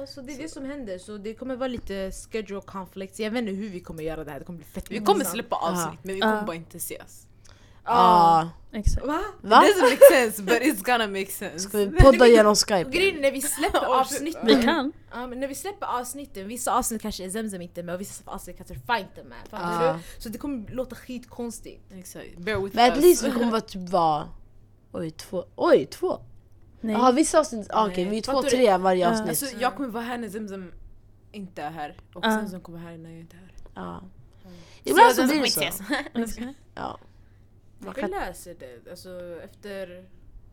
[SPEAKER 4] ja, så det är det som händer. Så det kommer vara lite schedule conflicts. Jag vet inte hur vi kommer göra det här, det kommer bli fett
[SPEAKER 2] Vi kommer
[SPEAKER 4] intressant.
[SPEAKER 2] släppa avsnitt men vi kommer bara inte ses.
[SPEAKER 1] Ja.
[SPEAKER 3] Exakt.
[SPEAKER 4] Va?
[SPEAKER 1] Ah. Va?
[SPEAKER 2] It doesn't make sense but it's gonna make sense.
[SPEAKER 1] Ska vi podda genom
[SPEAKER 4] Och
[SPEAKER 1] Skype?
[SPEAKER 4] grejen är när vi släpper
[SPEAKER 2] Åh, shit.
[SPEAKER 4] avsnitten,
[SPEAKER 3] Vi kan.
[SPEAKER 4] ja, men när vi släpper avsnitten, vissa avsnitt kanske är Zemzem inte med och vissa avsnitt kanske Fine inte med. Fattar
[SPEAKER 1] Ja.
[SPEAKER 4] du? Så det kommer låta skitkonstigt.
[SPEAKER 2] Exakt. Bear with
[SPEAKER 1] Men at
[SPEAKER 2] us.
[SPEAKER 1] least vi kommer vara typ vara... Oj, två. Oj, två!
[SPEAKER 3] Nej.
[SPEAKER 1] Jaha, vissa avsnitt... Ah, Okej,
[SPEAKER 2] Nej.
[SPEAKER 1] vi är två,
[SPEAKER 2] Fattar du?
[SPEAKER 1] tre varje
[SPEAKER 3] Ja.
[SPEAKER 1] avsnitt.
[SPEAKER 2] Alltså jag kommer vara här när Zemzem inte är här och
[SPEAKER 3] Ja.
[SPEAKER 2] Zemzem kommer vara här när jag inte är här.
[SPEAKER 1] Ja. Ibland mm. så
[SPEAKER 2] Zemzem
[SPEAKER 1] blir det så.
[SPEAKER 2] kommer inte
[SPEAKER 3] Exakt.
[SPEAKER 1] Ja. Man
[SPEAKER 4] Mm. Vi
[SPEAKER 1] kan,
[SPEAKER 4] löser det. Alltså efter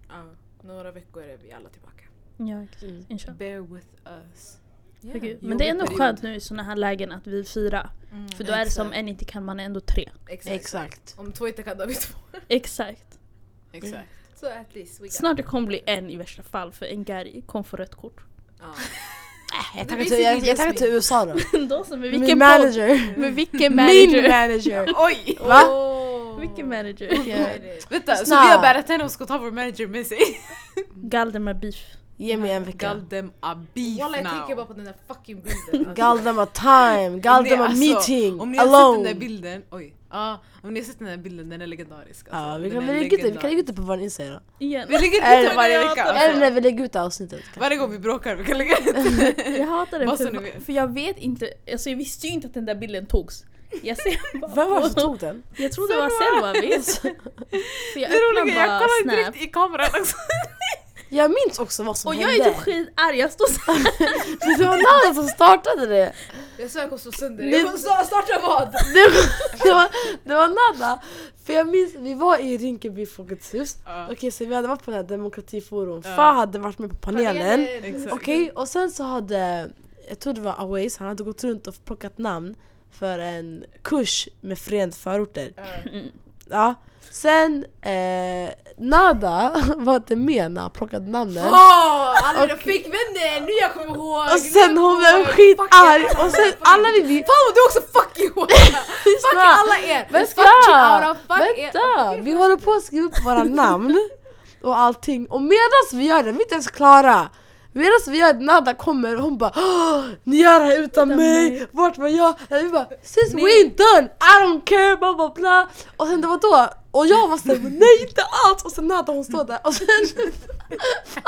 [SPEAKER 4] ja, några veckor är vi alla tillbaka.
[SPEAKER 3] Ja, exakt.
[SPEAKER 1] Mm.
[SPEAKER 3] Inshallah.
[SPEAKER 2] Bear with us.
[SPEAKER 3] Herregud.
[SPEAKER 4] Mm.
[SPEAKER 3] Men
[SPEAKER 2] Jobbig
[SPEAKER 3] det är ändå
[SPEAKER 2] period.
[SPEAKER 3] skönt nu i såna här lägen att vi är fyra. För då är det som
[SPEAKER 2] Exakt.
[SPEAKER 3] en inte kan, man är ändå tre.
[SPEAKER 4] Exakt.
[SPEAKER 1] exakt.
[SPEAKER 4] Om två inte kan då har vi två.
[SPEAKER 3] Exakt.
[SPEAKER 2] Exakt.
[SPEAKER 4] Så at least we got
[SPEAKER 3] Snart det kommer bli en i värsta fall för en Gary kom få rött kort.
[SPEAKER 4] Ja.
[SPEAKER 1] Äh, Jag
[SPEAKER 4] Det
[SPEAKER 1] tackar
[SPEAKER 4] blir
[SPEAKER 1] till,
[SPEAKER 4] så
[SPEAKER 1] jag,
[SPEAKER 4] just
[SPEAKER 1] jag tackar
[SPEAKER 4] me.
[SPEAKER 1] till USA då.
[SPEAKER 3] Då så, med
[SPEAKER 1] Min
[SPEAKER 3] vilken podd?
[SPEAKER 1] manager.
[SPEAKER 3] Med vilken
[SPEAKER 1] Min
[SPEAKER 3] manager?
[SPEAKER 1] manager!
[SPEAKER 2] Oj!
[SPEAKER 1] Va?
[SPEAKER 4] Oh.
[SPEAKER 3] Vilken manager?
[SPEAKER 1] Okej.
[SPEAKER 2] Vänta, så vi
[SPEAKER 1] Snälla.
[SPEAKER 2] har bärat henne och ska ta vår manager med sig?
[SPEAKER 3] Galden med beef.
[SPEAKER 1] Ge mig en vecka.
[SPEAKER 2] Gal them a beef
[SPEAKER 4] Walla jag
[SPEAKER 2] now.
[SPEAKER 4] tänker bara på den där fucking bilden. Alltså.
[SPEAKER 1] Gal them a time, gal
[SPEAKER 2] Det-
[SPEAKER 1] them a
[SPEAKER 2] alltså, Om
[SPEAKER 1] meeting,
[SPEAKER 2] ni har sett
[SPEAKER 1] alone.
[SPEAKER 2] den där bilden, oj. Ja, om ni har sett den där bilden, den är legendarisk.
[SPEAKER 1] Ja, vi
[SPEAKER 2] Alltså, Den
[SPEAKER 1] kan
[SPEAKER 2] är
[SPEAKER 1] vi lägger ut det, vi kan
[SPEAKER 2] legendarisk.
[SPEAKER 1] lägga ut det på vår Instagram.
[SPEAKER 3] Igen.
[SPEAKER 2] Vi lägger
[SPEAKER 1] Eller-
[SPEAKER 2] ut den varje vecka.
[SPEAKER 1] Eller när
[SPEAKER 2] Alltså.
[SPEAKER 1] vi lägger ut avsnittet. kanske.
[SPEAKER 2] Varje gång vi bråkar, vi kan lägga ut den.
[SPEAKER 3] Jag hatar den
[SPEAKER 2] Bara så ni
[SPEAKER 3] för,
[SPEAKER 2] vet.
[SPEAKER 3] för jag vet inte, alltså jag visste ju inte att den där bilden togs. Jag ser bara
[SPEAKER 1] Vem var det
[SPEAKER 3] på-
[SPEAKER 1] som tog den?
[SPEAKER 3] Jag trodde det var Selma visst. Så jag
[SPEAKER 2] Det roliga,
[SPEAKER 3] öppnar
[SPEAKER 2] jag
[SPEAKER 3] bara
[SPEAKER 2] kollar inte
[SPEAKER 3] Snap.
[SPEAKER 2] riktigt i kameran också.
[SPEAKER 1] Jag minns också vad som
[SPEAKER 3] Och jag
[SPEAKER 1] hände.
[SPEAKER 3] är typ skitarg, jag står såhär.
[SPEAKER 1] Det var någon som startade det.
[SPEAKER 4] Jag sa jag kommer slå sönder
[SPEAKER 1] Men-
[SPEAKER 4] dig. Jag kommer snart- starta vad?
[SPEAKER 1] Det var, det var, det var Nada. För jag minns, vi var i Rinkeby Folkets hus.
[SPEAKER 2] Ja.
[SPEAKER 1] Okej, så vi hade varit på den här demokratiforum.
[SPEAKER 2] Ja.
[SPEAKER 1] Far hade varit med på panelen.
[SPEAKER 2] Exakt.
[SPEAKER 1] Okej,
[SPEAKER 4] mm.
[SPEAKER 1] och sen så hade, jag tror det var Aways, han hade gått runt och plockat namn för en kurs med Friend förorter. Ja. Sen, eh, Nada var inte med när han plockade namnen.
[SPEAKER 4] Åh, alla mina flickvänner! Nu jag kommer ihåg!
[SPEAKER 1] Och sen hon blev skitarg och sen alla vi- vi...
[SPEAKER 4] Fan vad du också fucking ihåg! Fuck alla er!
[SPEAKER 1] Vänta!
[SPEAKER 4] Fucking aura, fuck er!
[SPEAKER 1] Vänta! Vi håller på att skriva upp våra namn och allting och medans vi gör det, vi är inte ens klara! Medans vi gör det, Nada kommer och hon bara "Åh, Ni gör det här utan mig,
[SPEAKER 3] mig."
[SPEAKER 1] vart var jag? Och vi bara Sis we ain't done, I don't care, bla bla bla Och sen det var då, och jag var såhär nej inte alls! Och sen Nada hon står där och sen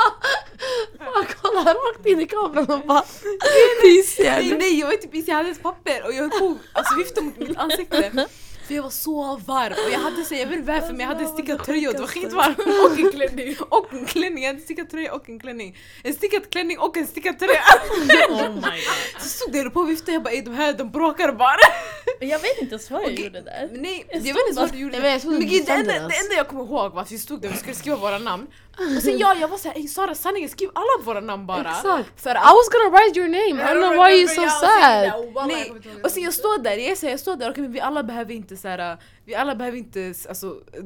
[SPEAKER 1] Fan kollar rakt in i kameran och bara
[SPEAKER 2] Nej,
[SPEAKER 1] Pisen!
[SPEAKER 2] nej, jag var typ pissig, jag hade ett papper och jag höll på alltså viftade mot mitt ansikte. För jag var så varm och jag hade så jag vet inte varför men jag hade stickad tröja och Alltså, det var skitvarmt. Och en klänning. Och en klänning, jag hade stickad tröja och en klänning. En stickad klänning och en stickad tröja.
[SPEAKER 3] Oh my god.
[SPEAKER 2] Så stod det och höll på och viftade jag bara "Ey, de här de bråkar bara.
[SPEAKER 3] Jag vet inte ens vad jag gjorde
[SPEAKER 2] Men
[SPEAKER 3] där.
[SPEAKER 2] Nej, jag vet inte ens vad du gjorde.
[SPEAKER 1] Jag vet, jag trodde
[SPEAKER 2] Men
[SPEAKER 1] du
[SPEAKER 2] gud, det,
[SPEAKER 1] bestämde
[SPEAKER 2] enda,
[SPEAKER 1] det, alltså.
[SPEAKER 2] det enda jag kommer ihåg var att vi stod där och skulle skriva våra namn. Och sen jag, jag var såhär, ey Sara sanningen skriv alla våra namn bara.
[SPEAKER 1] Exakt!
[SPEAKER 2] För
[SPEAKER 1] I was gonna write your name, I don't know why you're so
[SPEAKER 4] Jag
[SPEAKER 1] sad!
[SPEAKER 4] sitter där, walla, Oh, jag
[SPEAKER 2] Nej.
[SPEAKER 4] kommer inte ihåg.
[SPEAKER 2] Och sen jag står där, jag säger jag står där, okej men vi alla behöver inte så här, vi alla behöver inte alltså eh,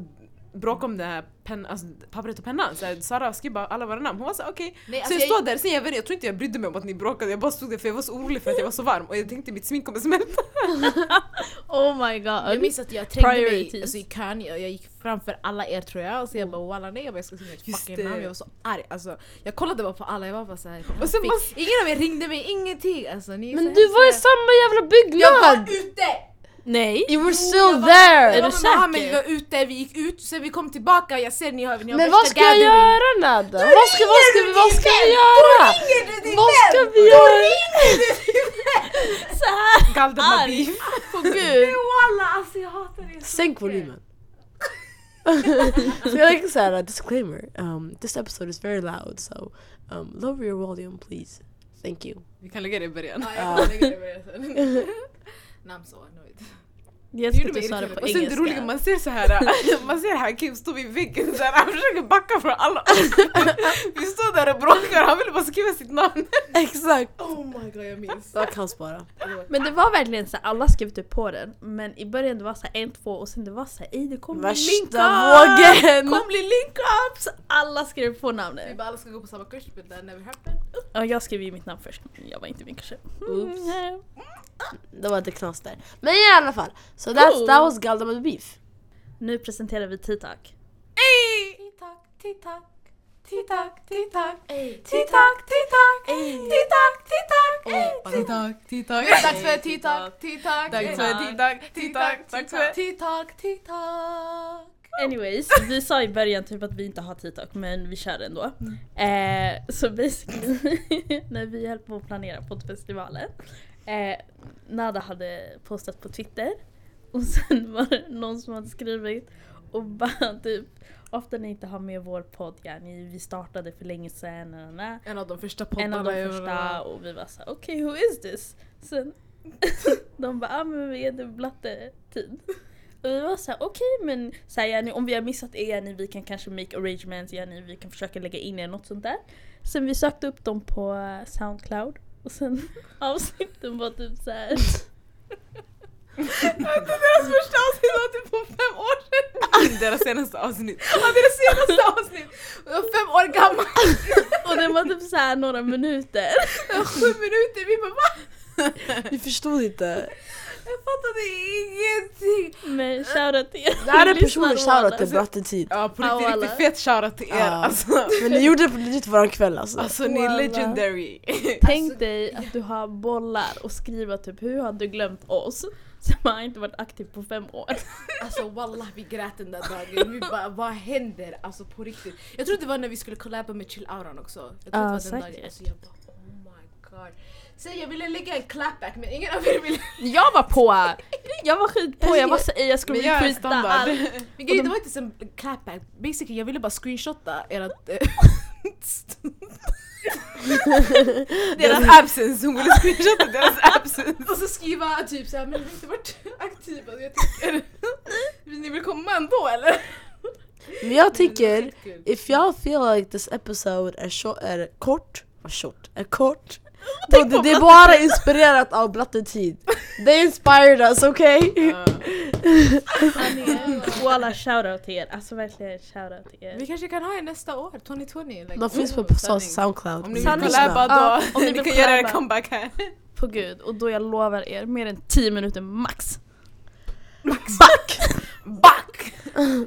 [SPEAKER 2] bråka om det här pen, alltså, pappret och pennan. Så här, Sara skrev bara alla våra namn. Hon var såhär okej.
[SPEAKER 4] Nej,
[SPEAKER 2] så
[SPEAKER 4] alltså
[SPEAKER 2] jag,
[SPEAKER 4] jag-
[SPEAKER 2] står där, sen jag, vet, inte, jag tror inte jag brydde mig om att ni bråkade, jag bara stod där för jag var så orolig för att jag var så varm och jag tänkte mitt smink kommer smälta.
[SPEAKER 3] Oh my
[SPEAKER 4] Jag
[SPEAKER 3] god.
[SPEAKER 4] minns att jag trängde mig
[SPEAKER 3] Priorities.
[SPEAKER 4] alltså, i kön, jag, jag gick framför alla er tror jag och så jag bara walla nej jag bara, jag ska skriva mitt
[SPEAKER 2] Just
[SPEAKER 4] fucking
[SPEAKER 2] det.
[SPEAKER 4] namn, jag var så arg alltså, Jag kollade bara på alla, jag var bara såhär
[SPEAKER 2] Och sen bara-
[SPEAKER 4] Ingen av er ringde mig, ingenting alltså, ni är så
[SPEAKER 1] Men du var i
[SPEAKER 4] hemska.
[SPEAKER 1] samma jävla
[SPEAKER 4] Jag var
[SPEAKER 1] byggnad!
[SPEAKER 4] ute!
[SPEAKER 3] Nej.
[SPEAKER 1] You were
[SPEAKER 4] jag
[SPEAKER 1] still
[SPEAKER 4] var-
[SPEAKER 1] there!
[SPEAKER 4] Jag
[SPEAKER 3] du
[SPEAKER 4] var med Mohammed,
[SPEAKER 3] säker?
[SPEAKER 4] vi var ute, vi gick ut, sen vi kom tillbaka, jag ser ni har, ni har
[SPEAKER 1] Men
[SPEAKER 4] värsta
[SPEAKER 1] vad ska jag
[SPEAKER 4] gathering.
[SPEAKER 1] göra Nadda? Vad ska, vad ska, vi- vad ska vi
[SPEAKER 4] Då
[SPEAKER 1] göra?
[SPEAKER 4] ringer du din
[SPEAKER 1] Vad
[SPEAKER 4] vän!
[SPEAKER 1] ska vi göra?
[SPEAKER 3] Såhär
[SPEAKER 2] Galden
[SPEAKER 3] arg. På gud.
[SPEAKER 4] Walla alltså jag hatar det så
[SPEAKER 1] Sänk
[SPEAKER 4] mycket.
[SPEAKER 1] volymen. so like said, a uh, disclaimer. Um, this episode is very loud, so um, lower your volume, please. Thank you.
[SPEAKER 2] Vi kan lägga det i början.
[SPEAKER 4] Ja, jag kommer lägga det med er sen. Nej, I'm so annoyed.
[SPEAKER 3] Jag
[SPEAKER 4] Det gjorde
[SPEAKER 3] ska
[SPEAKER 4] mig
[SPEAKER 3] inte svara
[SPEAKER 4] irriterad.
[SPEAKER 3] på
[SPEAKER 2] Och sen det roliga,
[SPEAKER 3] engelska.
[SPEAKER 2] man ser så här, äh, man ser Hakim stå vid väggen så här, han försöker backa från alla. Vi står där och bråkar, han vill bara skriva sitt namn.
[SPEAKER 1] Exakt.
[SPEAKER 4] Oh my god jag minns.
[SPEAKER 1] Jag kan spara.
[SPEAKER 3] Men det var verkligen såhär, alla skrev typ på den. Men i början det var såhär en, två och sen det var såhär ej det kommer bli link
[SPEAKER 1] Värsta
[SPEAKER 3] up.
[SPEAKER 1] vågen!
[SPEAKER 3] Kommer bli link up! Så alla skrev på namnet.
[SPEAKER 4] Vi bara alla ska gå på samma kurs but that never happened.
[SPEAKER 3] Ja, jag skrev ju mitt namn först. Jag var inte min kanske.
[SPEAKER 1] Oops. Mm. Det var inte knas där. Men i alla fall. So that's, that was Galdem and Beef.
[SPEAKER 3] Nu presenterar vi Titak.
[SPEAKER 4] Tittack, tittack, tittack, tittack, tittack, tittack, tittack, tittack,
[SPEAKER 2] Tittack, tittack.
[SPEAKER 4] Dags för tittack, tittack,
[SPEAKER 2] Tack
[SPEAKER 4] tittack,
[SPEAKER 2] för tittack, tittack, tack för
[SPEAKER 4] tittack, tittack.
[SPEAKER 3] Anyways, vi sa i början typ att vi inte har TikTok men vi kör ändå. Eh, så basically, när vi höll på att planera poddfestivalen. Eh, Nada hade postat på Twitter och sen var det någon som hade skrivit och bara typ Ofta ni inte har med vår podd, ja, ni, vi startade för länge sedan. na, na, na.
[SPEAKER 2] En av de första
[SPEAKER 3] En
[SPEAKER 2] poddarna
[SPEAKER 3] av de
[SPEAKER 2] jag-
[SPEAKER 3] första och vi var så här, okej who is this? Sen de bara, ah, men vi är det blatte-tid. Och vi var så här, okej men så här, ja, ni, om vi har missat er, ni, vi kan kanske make arrangements, ja, ni, vi kan försöka lägga in er något sånt där. Sen vi sökte upp dem på eh, Soundcloud och sen avsnitten var typ så här.
[SPEAKER 4] Vänta, deras första avsnitt var typ på fem år sedan!
[SPEAKER 2] Deras senaste avsnitt.
[SPEAKER 4] Ja, deras senaste avsnitt! Jag var fem år gammal,
[SPEAKER 3] och den var typ så här några minuter.
[SPEAKER 4] sju minuter, vi bara va?
[SPEAKER 1] Vi förstod inte.
[SPEAKER 4] Jag fattade ingenting!
[SPEAKER 3] Men shoutout till er.
[SPEAKER 1] Det här är
[SPEAKER 3] Ni lyssnar
[SPEAKER 1] personlig shoutout
[SPEAKER 3] alla.
[SPEAKER 1] till Brattetid.
[SPEAKER 2] Ja på riktigt,
[SPEAKER 3] Ja, alla.
[SPEAKER 2] riktigt fet shoutout till er
[SPEAKER 1] Ja.
[SPEAKER 2] alltså.
[SPEAKER 1] Men ni gjorde det på riktigt våran kväll alltså.
[SPEAKER 2] Alltså ni är
[SPEAKER 3] Alla.
[SPEAKER 2] legendary.
[SPEAKER 3] Tänk dig att du har bollar och skriva typ hur har du glömt oss? Som har inte varit aktiv på fem år.
[SPEAKER 4] Alltså wallah vi grät den där dagen, vi bara vad händer? Alltså på riktigt. Jag tror det var när vi skulle collaba med Chill Auran också. Jag tror det
[SPEAKER 3] Ja,
[SPEAKER 4] var den
[SPEAKER 3] säkert.
[SPEAKER 4] dagen. Alltså jag bara oh my god. Sen jag ville lägga en clapback men ingen av er ville.
[SPEAKER 3] Jag var på! Jag var skit på, jag var så jag skulle
[SPEAKER 2] Men jag är
[SPEAKER 3] recruita
[SPEAKER 2] standard.
[SPEAKER 3] allt.
[SPEAKER 4] Men grejen det var inte som clapback, basically jag ville bara screenshotta ert... eh,
[SPEAKER 2] Deras absence, hon ville screenshotta deras absence.
[SPEAKER 4] och så skriva typ såhär men vi har inte varit aktiva jag tycker. Vill ni väl komma ändå eller?
[SPEAKER 1] Men jag tycker,
[SPEAKER 4] Skitkul.
[SPEAKER 1] if y'all feel like this episode är, short, är kort, var short, är kort. Då det, det är bara inspirerat av Brattetid. They inspired us, okej?
[SPEAKER 2] Ja.
[SPEAKER 3] Walla shoutout till er, alltså verkligen shoutout till er.
[SPEAKER 4] Vi kanske kan ha er nästa år, 2020. Like,
[SPEAKER 1] De finns på
[SPEAKER 4] oh,
[SPEAKER 1] så-
[SPEAKER 2] sanning.
[SPEAKER 1] Soundcloud.
[SPEAKER 2] Om ni vill
[SPEAKER 3] Sanning.
[SPEAKER 2] collaba
[SPEAKER 3] Ja,
[SPEAKER 2] då,
[SPEAKER 3] om ni
[SPEAKER 2] ni
[SPEAKER 3] vill
[SPEAKER 2] kan göra er
[SPEAKER 3] collaba.
[SPEAKER 2] comeback här.
[SPEAKER 3] På gud, och då jag lovar er, mer än 10 minuter max.
[SPEAKER 1] Back!
[SPEAKER 2] Back!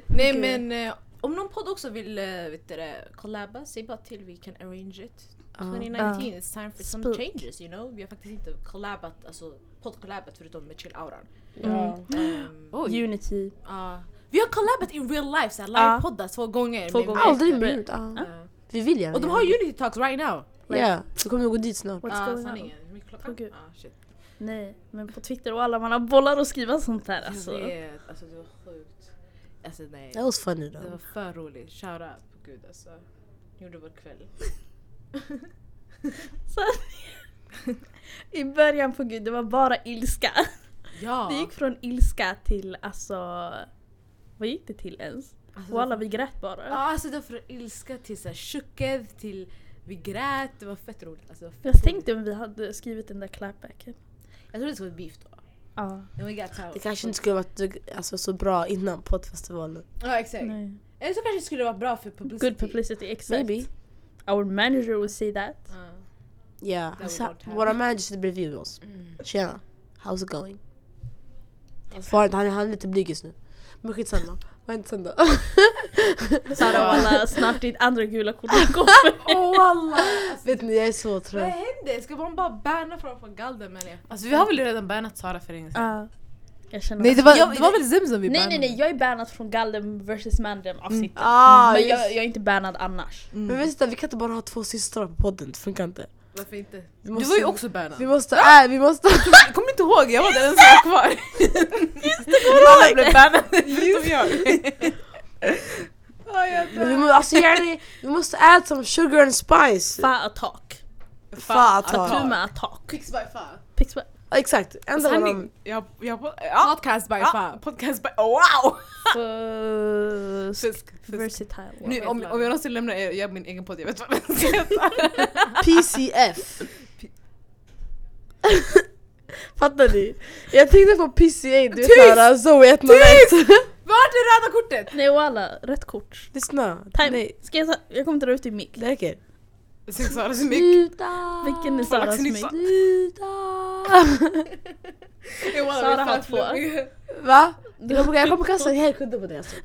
[SPEAKER 4] Nej men eh, om någon podd också vill eh, vet du, det, collaba, säg bara till vi kan arrange it. 2019 it's time for some
[SPEAKER 3] Speak.
[SPEAKER 4] changes you know. Vi har faktiskt inte collabat, alltså poddcollabat förutom med Chill Auran.
[SPEAKER 1] Ja.
[SPEAKER 4] Ehm,
[SPEAKER 3] Unity.
[SPEAKER 4] ja. vi har collabat in real life, såhär
[SPEAKER 3] Ja.
[SPEAKER 4] livepoddar två gånger.
[SPEAKER 3] Två
[SPEAKER 4] med-
[SPEAKER 3] gånger.
[SPEAKER 1] Aldrig mer. Ja.
[SPEAKER 4] Ja.
[SPEAKER 1] Vi vill gärna
[SPEAKER 4] Och de har Unity Talks right now!
[SPEAKER 1] Ja, yeah. så kommer vi gå dit snart.
[SPEAKER 3] What's
[SPEAKER 4] Ja,
[SPEAKER 3] going on?
[SPEAKER 4] sanningen. Hur mycket
[SPEAKER 3] Åh,
[SPEAKER 4] klockan?
[SPEAKER 3] gud.
[SPEAKER 4] Ja, Ah, shit.
[SPEAKER 3] Nej, men på Twitter och alla man har bollar och skriva sånt där alltså.
[SPEAKER 4] Jag vet, alltså det var sjukt. Alltså nej.
[SPEAKER 1] That was funny
[SPEAKER 4] Det var
[SPEAKER 1] though.
[SPEAKER 4] för roligt. Shoutout på gud alltså. Gjorde vår kväll.
[SPEAKER 3] Så, I början på gud, det var bara ilska.
[SPEAKER 4] Ja!
[SPEAKER 3] Det gick från ilska till alltså... Vad gick det till ens?
[SPEAKER 4] Alltså, det
[SPEAKER 3] Walla vi grät bara.
[SPEAKER 4] Ja, alltså det var från ilska till så här chockad till vi grät, det var fett roligt. Alltså, det var fett
[SPEAKER 3] Jag
[SPEAKER 4] roligt.
[SPEAKER 3] tänkte om vi hade skrivit den där clapbacken.
[SPEAKER 4] jag trodde det skulle bli beef då.
[SPEAKER 3] Ja.
[SPEAKER 4] Oh my god,
[SPEAKER 1] Det kanske inte skulle varit eh, alltså, så bra innan poddfestivalen.
[SPEAKER 4] Ja exakt.
[SPEAKER 3] Nej.
[SPEAKER 4] Eller så kanske det skulle vara bra för publicity.
[SPEAKER 3] Good publicity, exakt.
[SPEAKER 1] Maybe.
[SPEAKER 3] Our manager would say that.
[SPEAKER 4] Ja.
[SPEAKER 1] Ja,
[SPEAKER 4] would
[SPEAKER 1] Så-
[SPEAKER 4] not happen.
[SPEAKER 1] våra managers sitter bredvid oss.
[SPEAKER 2] Mm.
[SPEAKER 1] Tjena, how's it going? Svaret, han, han är lite blyg just nu. Men skitsamma, vad hände sen då?
[SPEAKER 3] Sara walla, snart ditt andra gula kort kommer.
[SPEAKER 4] Åh wallah! Alltså,
[SPEAKER 1] Vet ni, jag är så
[SPEAKER 4] vad
[SPEAKER 1] trött.
[SPEAKER 4] hände? Ska man bara banna framför galden menar jag?
[SPEAKER 2] Alltså vi har väl redan bannat Sara för länge sedan?
[SPEAKER 3] Ja. Jag känner
[SPEAKER 4] Nej, det var- det var väl
[SPEAKER 2] Zemzem vi
[SPEAKER 3] nej nej nej, jag är bannad från Galdem vs Mandem avsnittet.
[SPEAKER 1] Ah,
[SPEAKER 3] Men
[SPEAKER 1] just.
[SPEAKER 3] jag, jag är inte bannad annars.
[SPEAKER 1] Men vänta, vi kan inte bara ha två systrar på podden, det funkar inte.
[SPEAKER 4] Varför inte?
[SPEAKER 1] Vi
[SPEAKER 2] Du
[SPEAKER 1] måste,
[SPEAKER 2] var ju också bannad.
[SPEAKER 1] Vi måste, äh, vi måste...
[SPEAKER 2] Kommer du inte ihåg? Jag var den som var kvar. Alla blev bannade förutom jag.
[SPEAKER 1] Men vi, må, alltså, gärna, vi måste add some sugar and spice.
[SPEAKER 3] Fa attack.
[SPEAKER 1] Fan,
[SPEAKER 3] Tatu
[SPEAKER 1] fan.
[SPEAKER 3] med attack.
[SPEAKER 4] Fix by fan.
[SPEAKER 3] Ah. Pix- va-
[SPEAKER 1] Exakt, ändra dem.
[SPEAKER 2] Sanning. Jag, jag, ja,
[SPEAKER 4] Podcast by
[SPEAKER 2] ja,
[SPEAKER 4] fan.
[SPEAKER 2] podcast by, wow!
[SPEAKER 3] Fusk.
[SPEAKER 2] Fusk, fusk.
[SPEAKER 3] Versatile.
[SPEAKER 2] Nu, om, om jag någonsin lämnar er, jag min egen podd, jag vet vad den ska heta.
[SPEAKER 1] PCF. Fattar ni? Jag tänkte på PCA, du vet
[SPEAKER 2] Tyst!
[SPEAKER 1] såhär Zoe 101.
[SPEAKER 4] Vart är röda kortet?
[SPEAKER 3] Nej walla, rätt kort.
[SPEAKER 1] Lyssna.
[SPEAKER 3] Time.
[SPEAKER 1] Nej,
[SPEAKER 3] Ska jag, ta- jag kommer dra ut din mick.
[SPEAKER 1] det räcker.
[SPEAKER 2] Jag ser Sara så mycket.
[SPEAKER 1] Sluta!
[SPEAKER 3] Vilken är
[SPEAKER 2] Saras
[SPEAKER 3] Saras mick?
[SPEAKER 2] nissa.
[SPEAKER 1] Sluta!
[SPEAKER 4] Jag wallah,
[SPEAKER 3] Sara
[SPEAKER 4] vi
[SPEAKER 3] har
[SPEAKER 4] fan
[SPEAKER 3] två.
[SPEAKER 4] glömmer.
[SPEAKER 1] Va? Jag kommer, jag kommer kasta en hel kudde på dig alltså.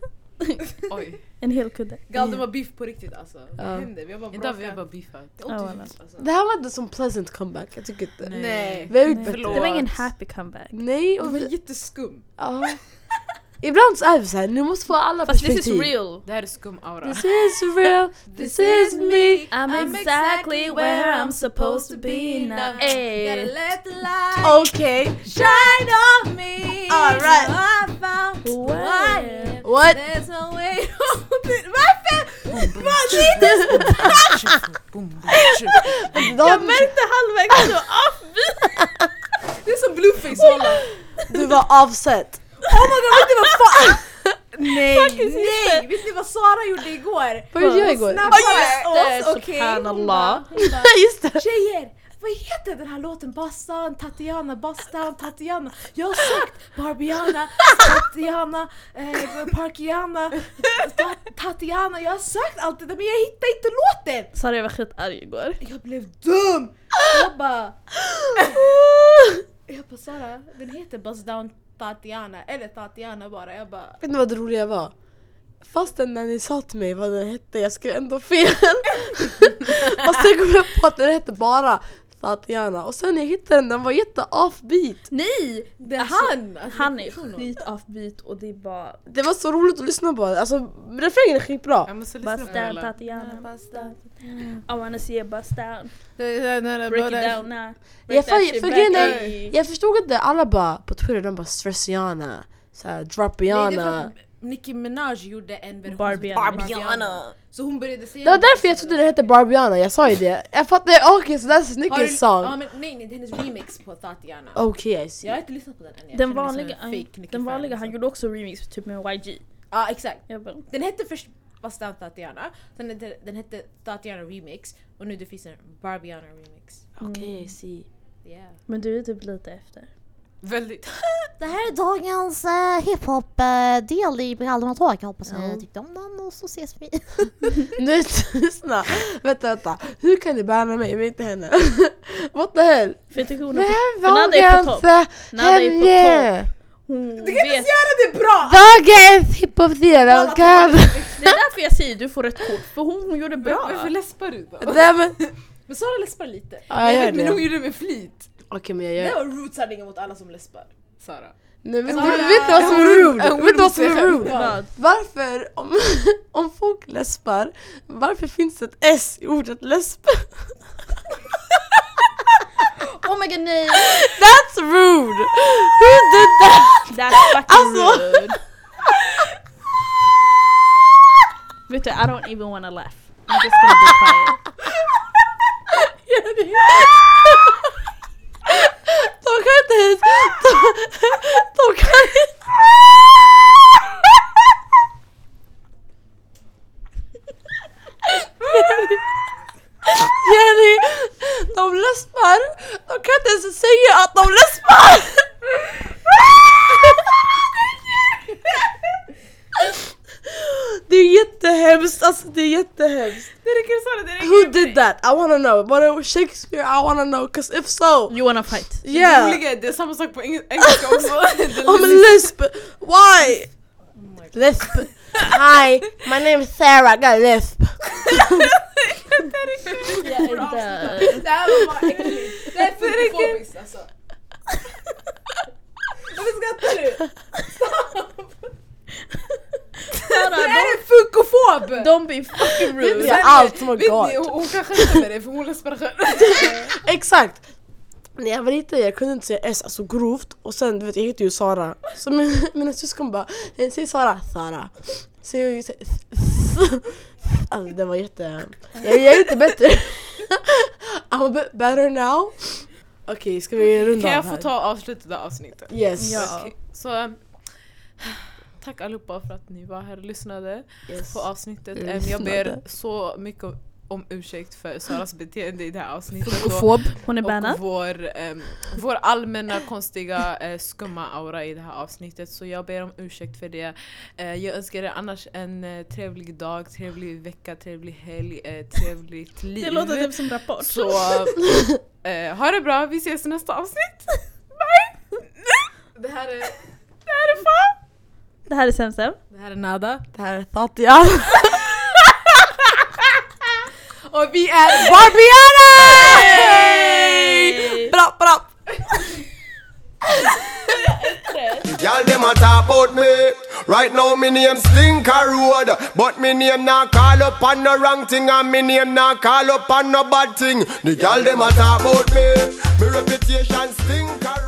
[SPEAKER 2] Oj.
[SPEAKER 3] En hel kudde.
[SPEAKER 4] Galden var beef på riktigt alltså. Vad
[SPEAKER 1] Ja.
[SPEAKER 4] hände? Vi har bara
[SPEAKER 2] Idag
[SPEAKER 4] bråkat.
[SPEAKER 2] vi har bara beefat.
[SPEAKER 4] Det är ont i
[SPEAKER 3] Ja,
[SPEAKER 4] huvudet, alltså.
[SPEAKER 1] Det här var inte som pleasant comeback, jag tycker inte.
[SPEAKER 2] Nej.
[SPEAKER 4] Nej.
[SPEAKER 1] Vi har gjort
[SPEAKER 3] Nej.
[SPEAKER 1] bättre.
[SPEAKER 2] Förlåt.
[SPEAKER 3] Det var ingen happy comeback.
[SPEAKER 1] Nej,
[SPEAKER 4] Det
[SPEAKER 1] och
[SPEAKER 4] var
[SPEAKER 1] vi,
[SPEAKER 4] jätteskum.
[SPEAKER 1] ja. Ibland så är vi såhär, nu måste få alla
[SPEAKER 3] Fast this is
[SPEAKER 1] perspektiv.
[SPEAKER 3] real.
[SPEAKER 2] Det här är skum aura.
[SPEAKER 1] This is real, this is me.
[SPEAKER 3] I'm, exactly where I'm supposed to be now. Ey.
[SPEAKER 2] let the light
[SPEAKER 4] Okej,
[SPEAKER 2] shine on me.
[SPEAKER 4] Alright.
[SPEAKER 2] Now I found who I am.
[SPEAKER 4] what?
[SPEAKER 2] There's no way out it. Varför? Vad är det?
[SPEAKER 3] Jag märkte halvvägs då, avbryt!
[SPEAKER 2] Det är som blueface walla.
[SPEAKER 1] Du var avsett.
[SPEAKER 4] Oh my god, vet ni vad fan? Nej,
[SPEAKER 3] sister.
[SPEAKER 4] nej! Vet ni vad Sara gjorde igår?
[SPEAKER 1] Vad gjorde jag igår?
[SPEAKER 4] Snabbare
[SPEAKER 3] just
[SPEAKER 4] än
[SPEAKER 3] det,
[SPEAKER 4] oss, okej? Hon bara,
[SPEAKER 1] Just det!
[SPEAKER 4] Tjejer! Vad heter den här låten? Bastan, Tatiana, Bastan, Tatiana. Jag har sökt Barbiana, Tatiana, eh, Parkiana, Ta- Tatiana. Jag har sökt allt det där men jag hittar inte låten!
[SPEAKER 3] Sorry jag var skitarg igår.
[SPEAKER 4] Jag blev dum! Jag bara... Jag bara Sara, den heter Bastan, Tatiana. Eller Tatiana bara. Jag bara...
[SPEAKER 1] Vet ni vad det roliga var? Fastän när ni sa till mig vad den hette, jag skrev ändå fel. och sen kom jag på att den hette bara Tatiana. Och sen när jag hittade den, den var jätte-offbeat.
[SPEAKER 3] Nej!
[SPEAKER 4] Den,
[SPEAKER 3] Alltså,
[SPEAKER 4] han! Alltså,
[SPEAKER 3] Han är skit offbeat och det är bara...
[SPEAKER 1] Det var så roligt att lyssna på. Alltså refrängen är skitbra.
[SPEAKER 2] Jag måste lyssna på det
[SPEAKER 3] Basta
[SPEAKER 2] hela.
[SPEAKER 3] Tatiana, I wanna see you bust down, break it
[SPEAKER 2] Break
[SPEAKER 3] down now.
[SPEAKER 1] Jag,
[SPEAKER 3] Break that
[SPEAKER 1] för,
[SPEAKER 3] shit
[SPEAKER 1] för
[SPEAKER 3] back
[SPEAKER 1] grejen är,
[SPEAKER 3] up.
[SPEAKER 1] jag förstod inte, alla bara på Twitter de bara stressiana, såhär
[SPEAKER 4] Nej, det är för
[SPEAKER 1] dropiana.
[SPEAKER 4] att Nicki Minaj gjorde en version
[SPEAKER 3] Barbiana.
[SPEAKER 4] som- Barbiana. Så hon började säga
[SPEAKER 1] Det var därför jag trodde den hette Barbiana, jag sa ju det. Jag fattade, okej så that's
[SPEAKER 4] Har du-
[SPEAKER 1] Nickis song.
[SPEAKER 4] Ja, men, nej, nej, det är hennes remix på Tatiana.
[SPEAKER 1] Okej I see.
[SPEAKER 4] Jag har inte lyssnat på den än. Jag
[SPEAKER 3] Den
[SPEAKER 4] känner mig som en
[SPEAKER 3] vanliga,
[SPEAKER 4] fake Nicki fan,
[SPEAKER 3] den vanliga han
[SPEAKER 4] liksom.
[SPEAKER 3] gjorde också remix typ med YG.
[SPEAKER 4] Ja, exakt.
[SPEAKER 3] Jag bara,
[SPEAKER 4] Den hette först Bastan Tatiana, sen hette, den hette Tatiana remix och nu det finns en Barbiana remix.
[SPEAKER 1] Okej I see.
[SPEAKER 4] Yeah.
[SPEAKER 3] men du är typ lite efter.
[SPEAKER 2] Väldigt.
[SPEAKER 5] Det här är dagens eh, hiphop-del i Brallorna och Tåg. Jag hoppas ni tyckte om den och så ses vi.
[SPEAKER 1] Nu lyssna, vänta vänta. Hur kan ni banna mig men inte henne? What the hell?
[SPEAKER 3] För jag tycker hon
[SPEAKER 1] Men
[SPEAKER 3] är på,
[SPEAKER 1] jag
[SPEAKER 3] Nada är på
[SPEAKER 1] vågar
[SPEAKER 3] topp.
[SPEAKER 1] inte
[SPEAKER 3] Nada är på
[SPEAKER 1] henne!
[SPEAKER 3] Hon
[SPEAKER 4] Du kan inte
[SPEAKER 3] vet.
[SPEAKER 4] göra det bra!
[SPEAKER 1] Dagens hiphop-del!
[SPEAKER 4] Alla
[SPEAKER 1] och kan-
[SPEAKER 3] Det är därför jag säger du får rött kort, för hon, hon gjorde bra.
[SPEAKER 2] Varför läspar du då?
[SPEAKER 1] Nej men...
[SPEAKER 4] Men Sara läspar lite.
[SPEAKER 1] Ja, jag gör
[SPEAKER 2] Men hon
[SPEAKER 1] det.
[SPEAKER 2] gjorde det med flit.
[SPEAKER 1] Okej men jag
[SPEAKER 4] Det
[SPEAKER 1] gör
[SPEAKER 4] var root-sanningen mot alla som läspar.
[SPEAKER 2] Sara.
[SPEAKER 1] Nej, vet,
[SPEAKER 4] Sara,
[SPEAKER 1] du, vet du vad som
[SPEAKER 2] en
[SPEAKER 1] är
[SPEAKER 2] hund-
[SPEAKER 1] rude?
[SPEAKER 2] en
[SPEAKER 1] Vet
[SPEAKER 2] hund
[SPEAKER 1] du vad som
[SPEAKER 2] ser
[SPEAKER 1] är
[SPEAKER 2] jag.
[SPEAKER 1] rude?
[SPEAKER 3] Vad?
[SPEAKER 1] Varför, om, om folk läspar, varför finns det ett S i ordet läsp?
[SPEAKER 3] Oh my god nej!
[SPEAKER 1] That's rude! Who did that?
[SPEAKER 3] That's fucking
[SPEAKER 1] Alltså.
[SPEAKER 3] rude. Vet du, I don't even wanna laugh. I'm just gonna be quiet.
[SPEAKER 1] De kan inte ens... De, de kan inte... Jenny, de läspar. De kan inte ens säga att de läspar! Det är jättehemskt, alltså det är jättehemskt.
[SPEAKER 2] Det räcker Sara, det räcker.
[SPEAKER 1] Who did that? I wanna know. Var det Shakespeare? I wanna know, cause if so.
[SPEAKER 3] You wanna fight?
[SPEAKER 2] Det
[SPEAKER 1] Yeah.
[SPEAKER 2] roliga är- det är samma sak på eng- engelska också. Det är
[SPEAKER 1] I'm a
[SPEAKER 2] lite-
[SPEAKER 1] lisp. Why?
[SPEAKER 2] Oh
[SPEAKER 1] Lisp. Hi, my name is Sarah. I got a lisp.
[SPEAKER 3] Jag är död.
[SPEAKER 4] Det här var bara äckligt. Det här är funkofobiskt alltså. Varför skrattar du?
[SPEAKER 3] Sara,
[SPEAKER 4] Det här är funkofob!
[SPEAKER 3] don't, don't be fucking
[SPEAKER 1] Vet
[SPEAKER 3] rude.
[SPEAKER 1] jag allt? Oh my
[SPEAKER 2] Vet ni,
[SPEAKER 1] god.
[SPEAKER 2] hon hon kan skämta med dig för hon läspar själv.
[SPEAKER 1] Exakt. När jag var liten jag kunde inte säga S alltså grovt och sen du vet jag heter ju Sara. Så min, mina syskon bara "Eh, säg Sara, Sara. Så jag säger Alltså det var jätte... Jag, jag är inte bättre. I'm a bit better now. Okej, ska vi runda
[SPEAKER 2] Kan
[SPEAKER 1] av
[SPEAKER 2] jag
[SPEAKER 1] här?
[SPEAKER 2] få ta avslutet av avsnittet?
[SPEAKER 1] Yes.
[SPEAKER 3] Ja.
[SPEAKER 2] Okej, Så ähm, tack allihopa för att ni var här och lyssnade
[SPEAKER 1] yes.
[SPEAKER 2] på avsnittet.
[SPEAKER 1] Mm,
[SPEAKER 2] Äm, Jag
[SPEAKER 1] lyssnade.
[SPEAKER 2] ber så mycket om- om ursäkt för Saras beteende i det här avsnittet. Och,
[SPEAKER 1] Kofob.
[SPEAKER 3] Hon är
[SPEAKER 2] och
[SPEAKER 3] bannad.
[SPEAKER 2] vår, äm, vår allmänna konstiga eh, skumma aura i det här avsnittet. Så jag ber om ursäkt för det. Eh, jag önskar er annars en eh, trevlig dag, trevlig vecka, trevlig helg, eh, trevligt liv.
[SPEAKER 3] Det låter typ som rapport.
[SPEAKER 2] Så eh, ha det bra, vi ses i nästa avsnitt. Bye!
[SPEAKER 4] Det här är...
[SPEAKER 2] Det här är fan!
[SPEAKER 3] Det här är Semsem.
[SPEAKER 4] Det här är Nada.
[SPEAKER 1] Det här är Tatja.
[SPEAKER 4] Och vi är...
[SPEAKER 3] Äh,
[SPEAKER 1] Barbiana! Bra, bra.
[SPEAKER 6] Y'all dem a talk about me. Right now me name Slinker Road But me name not call up on no wrong thing And me name not call up on no bad thing The girl them a talk about me Me reputation Slinker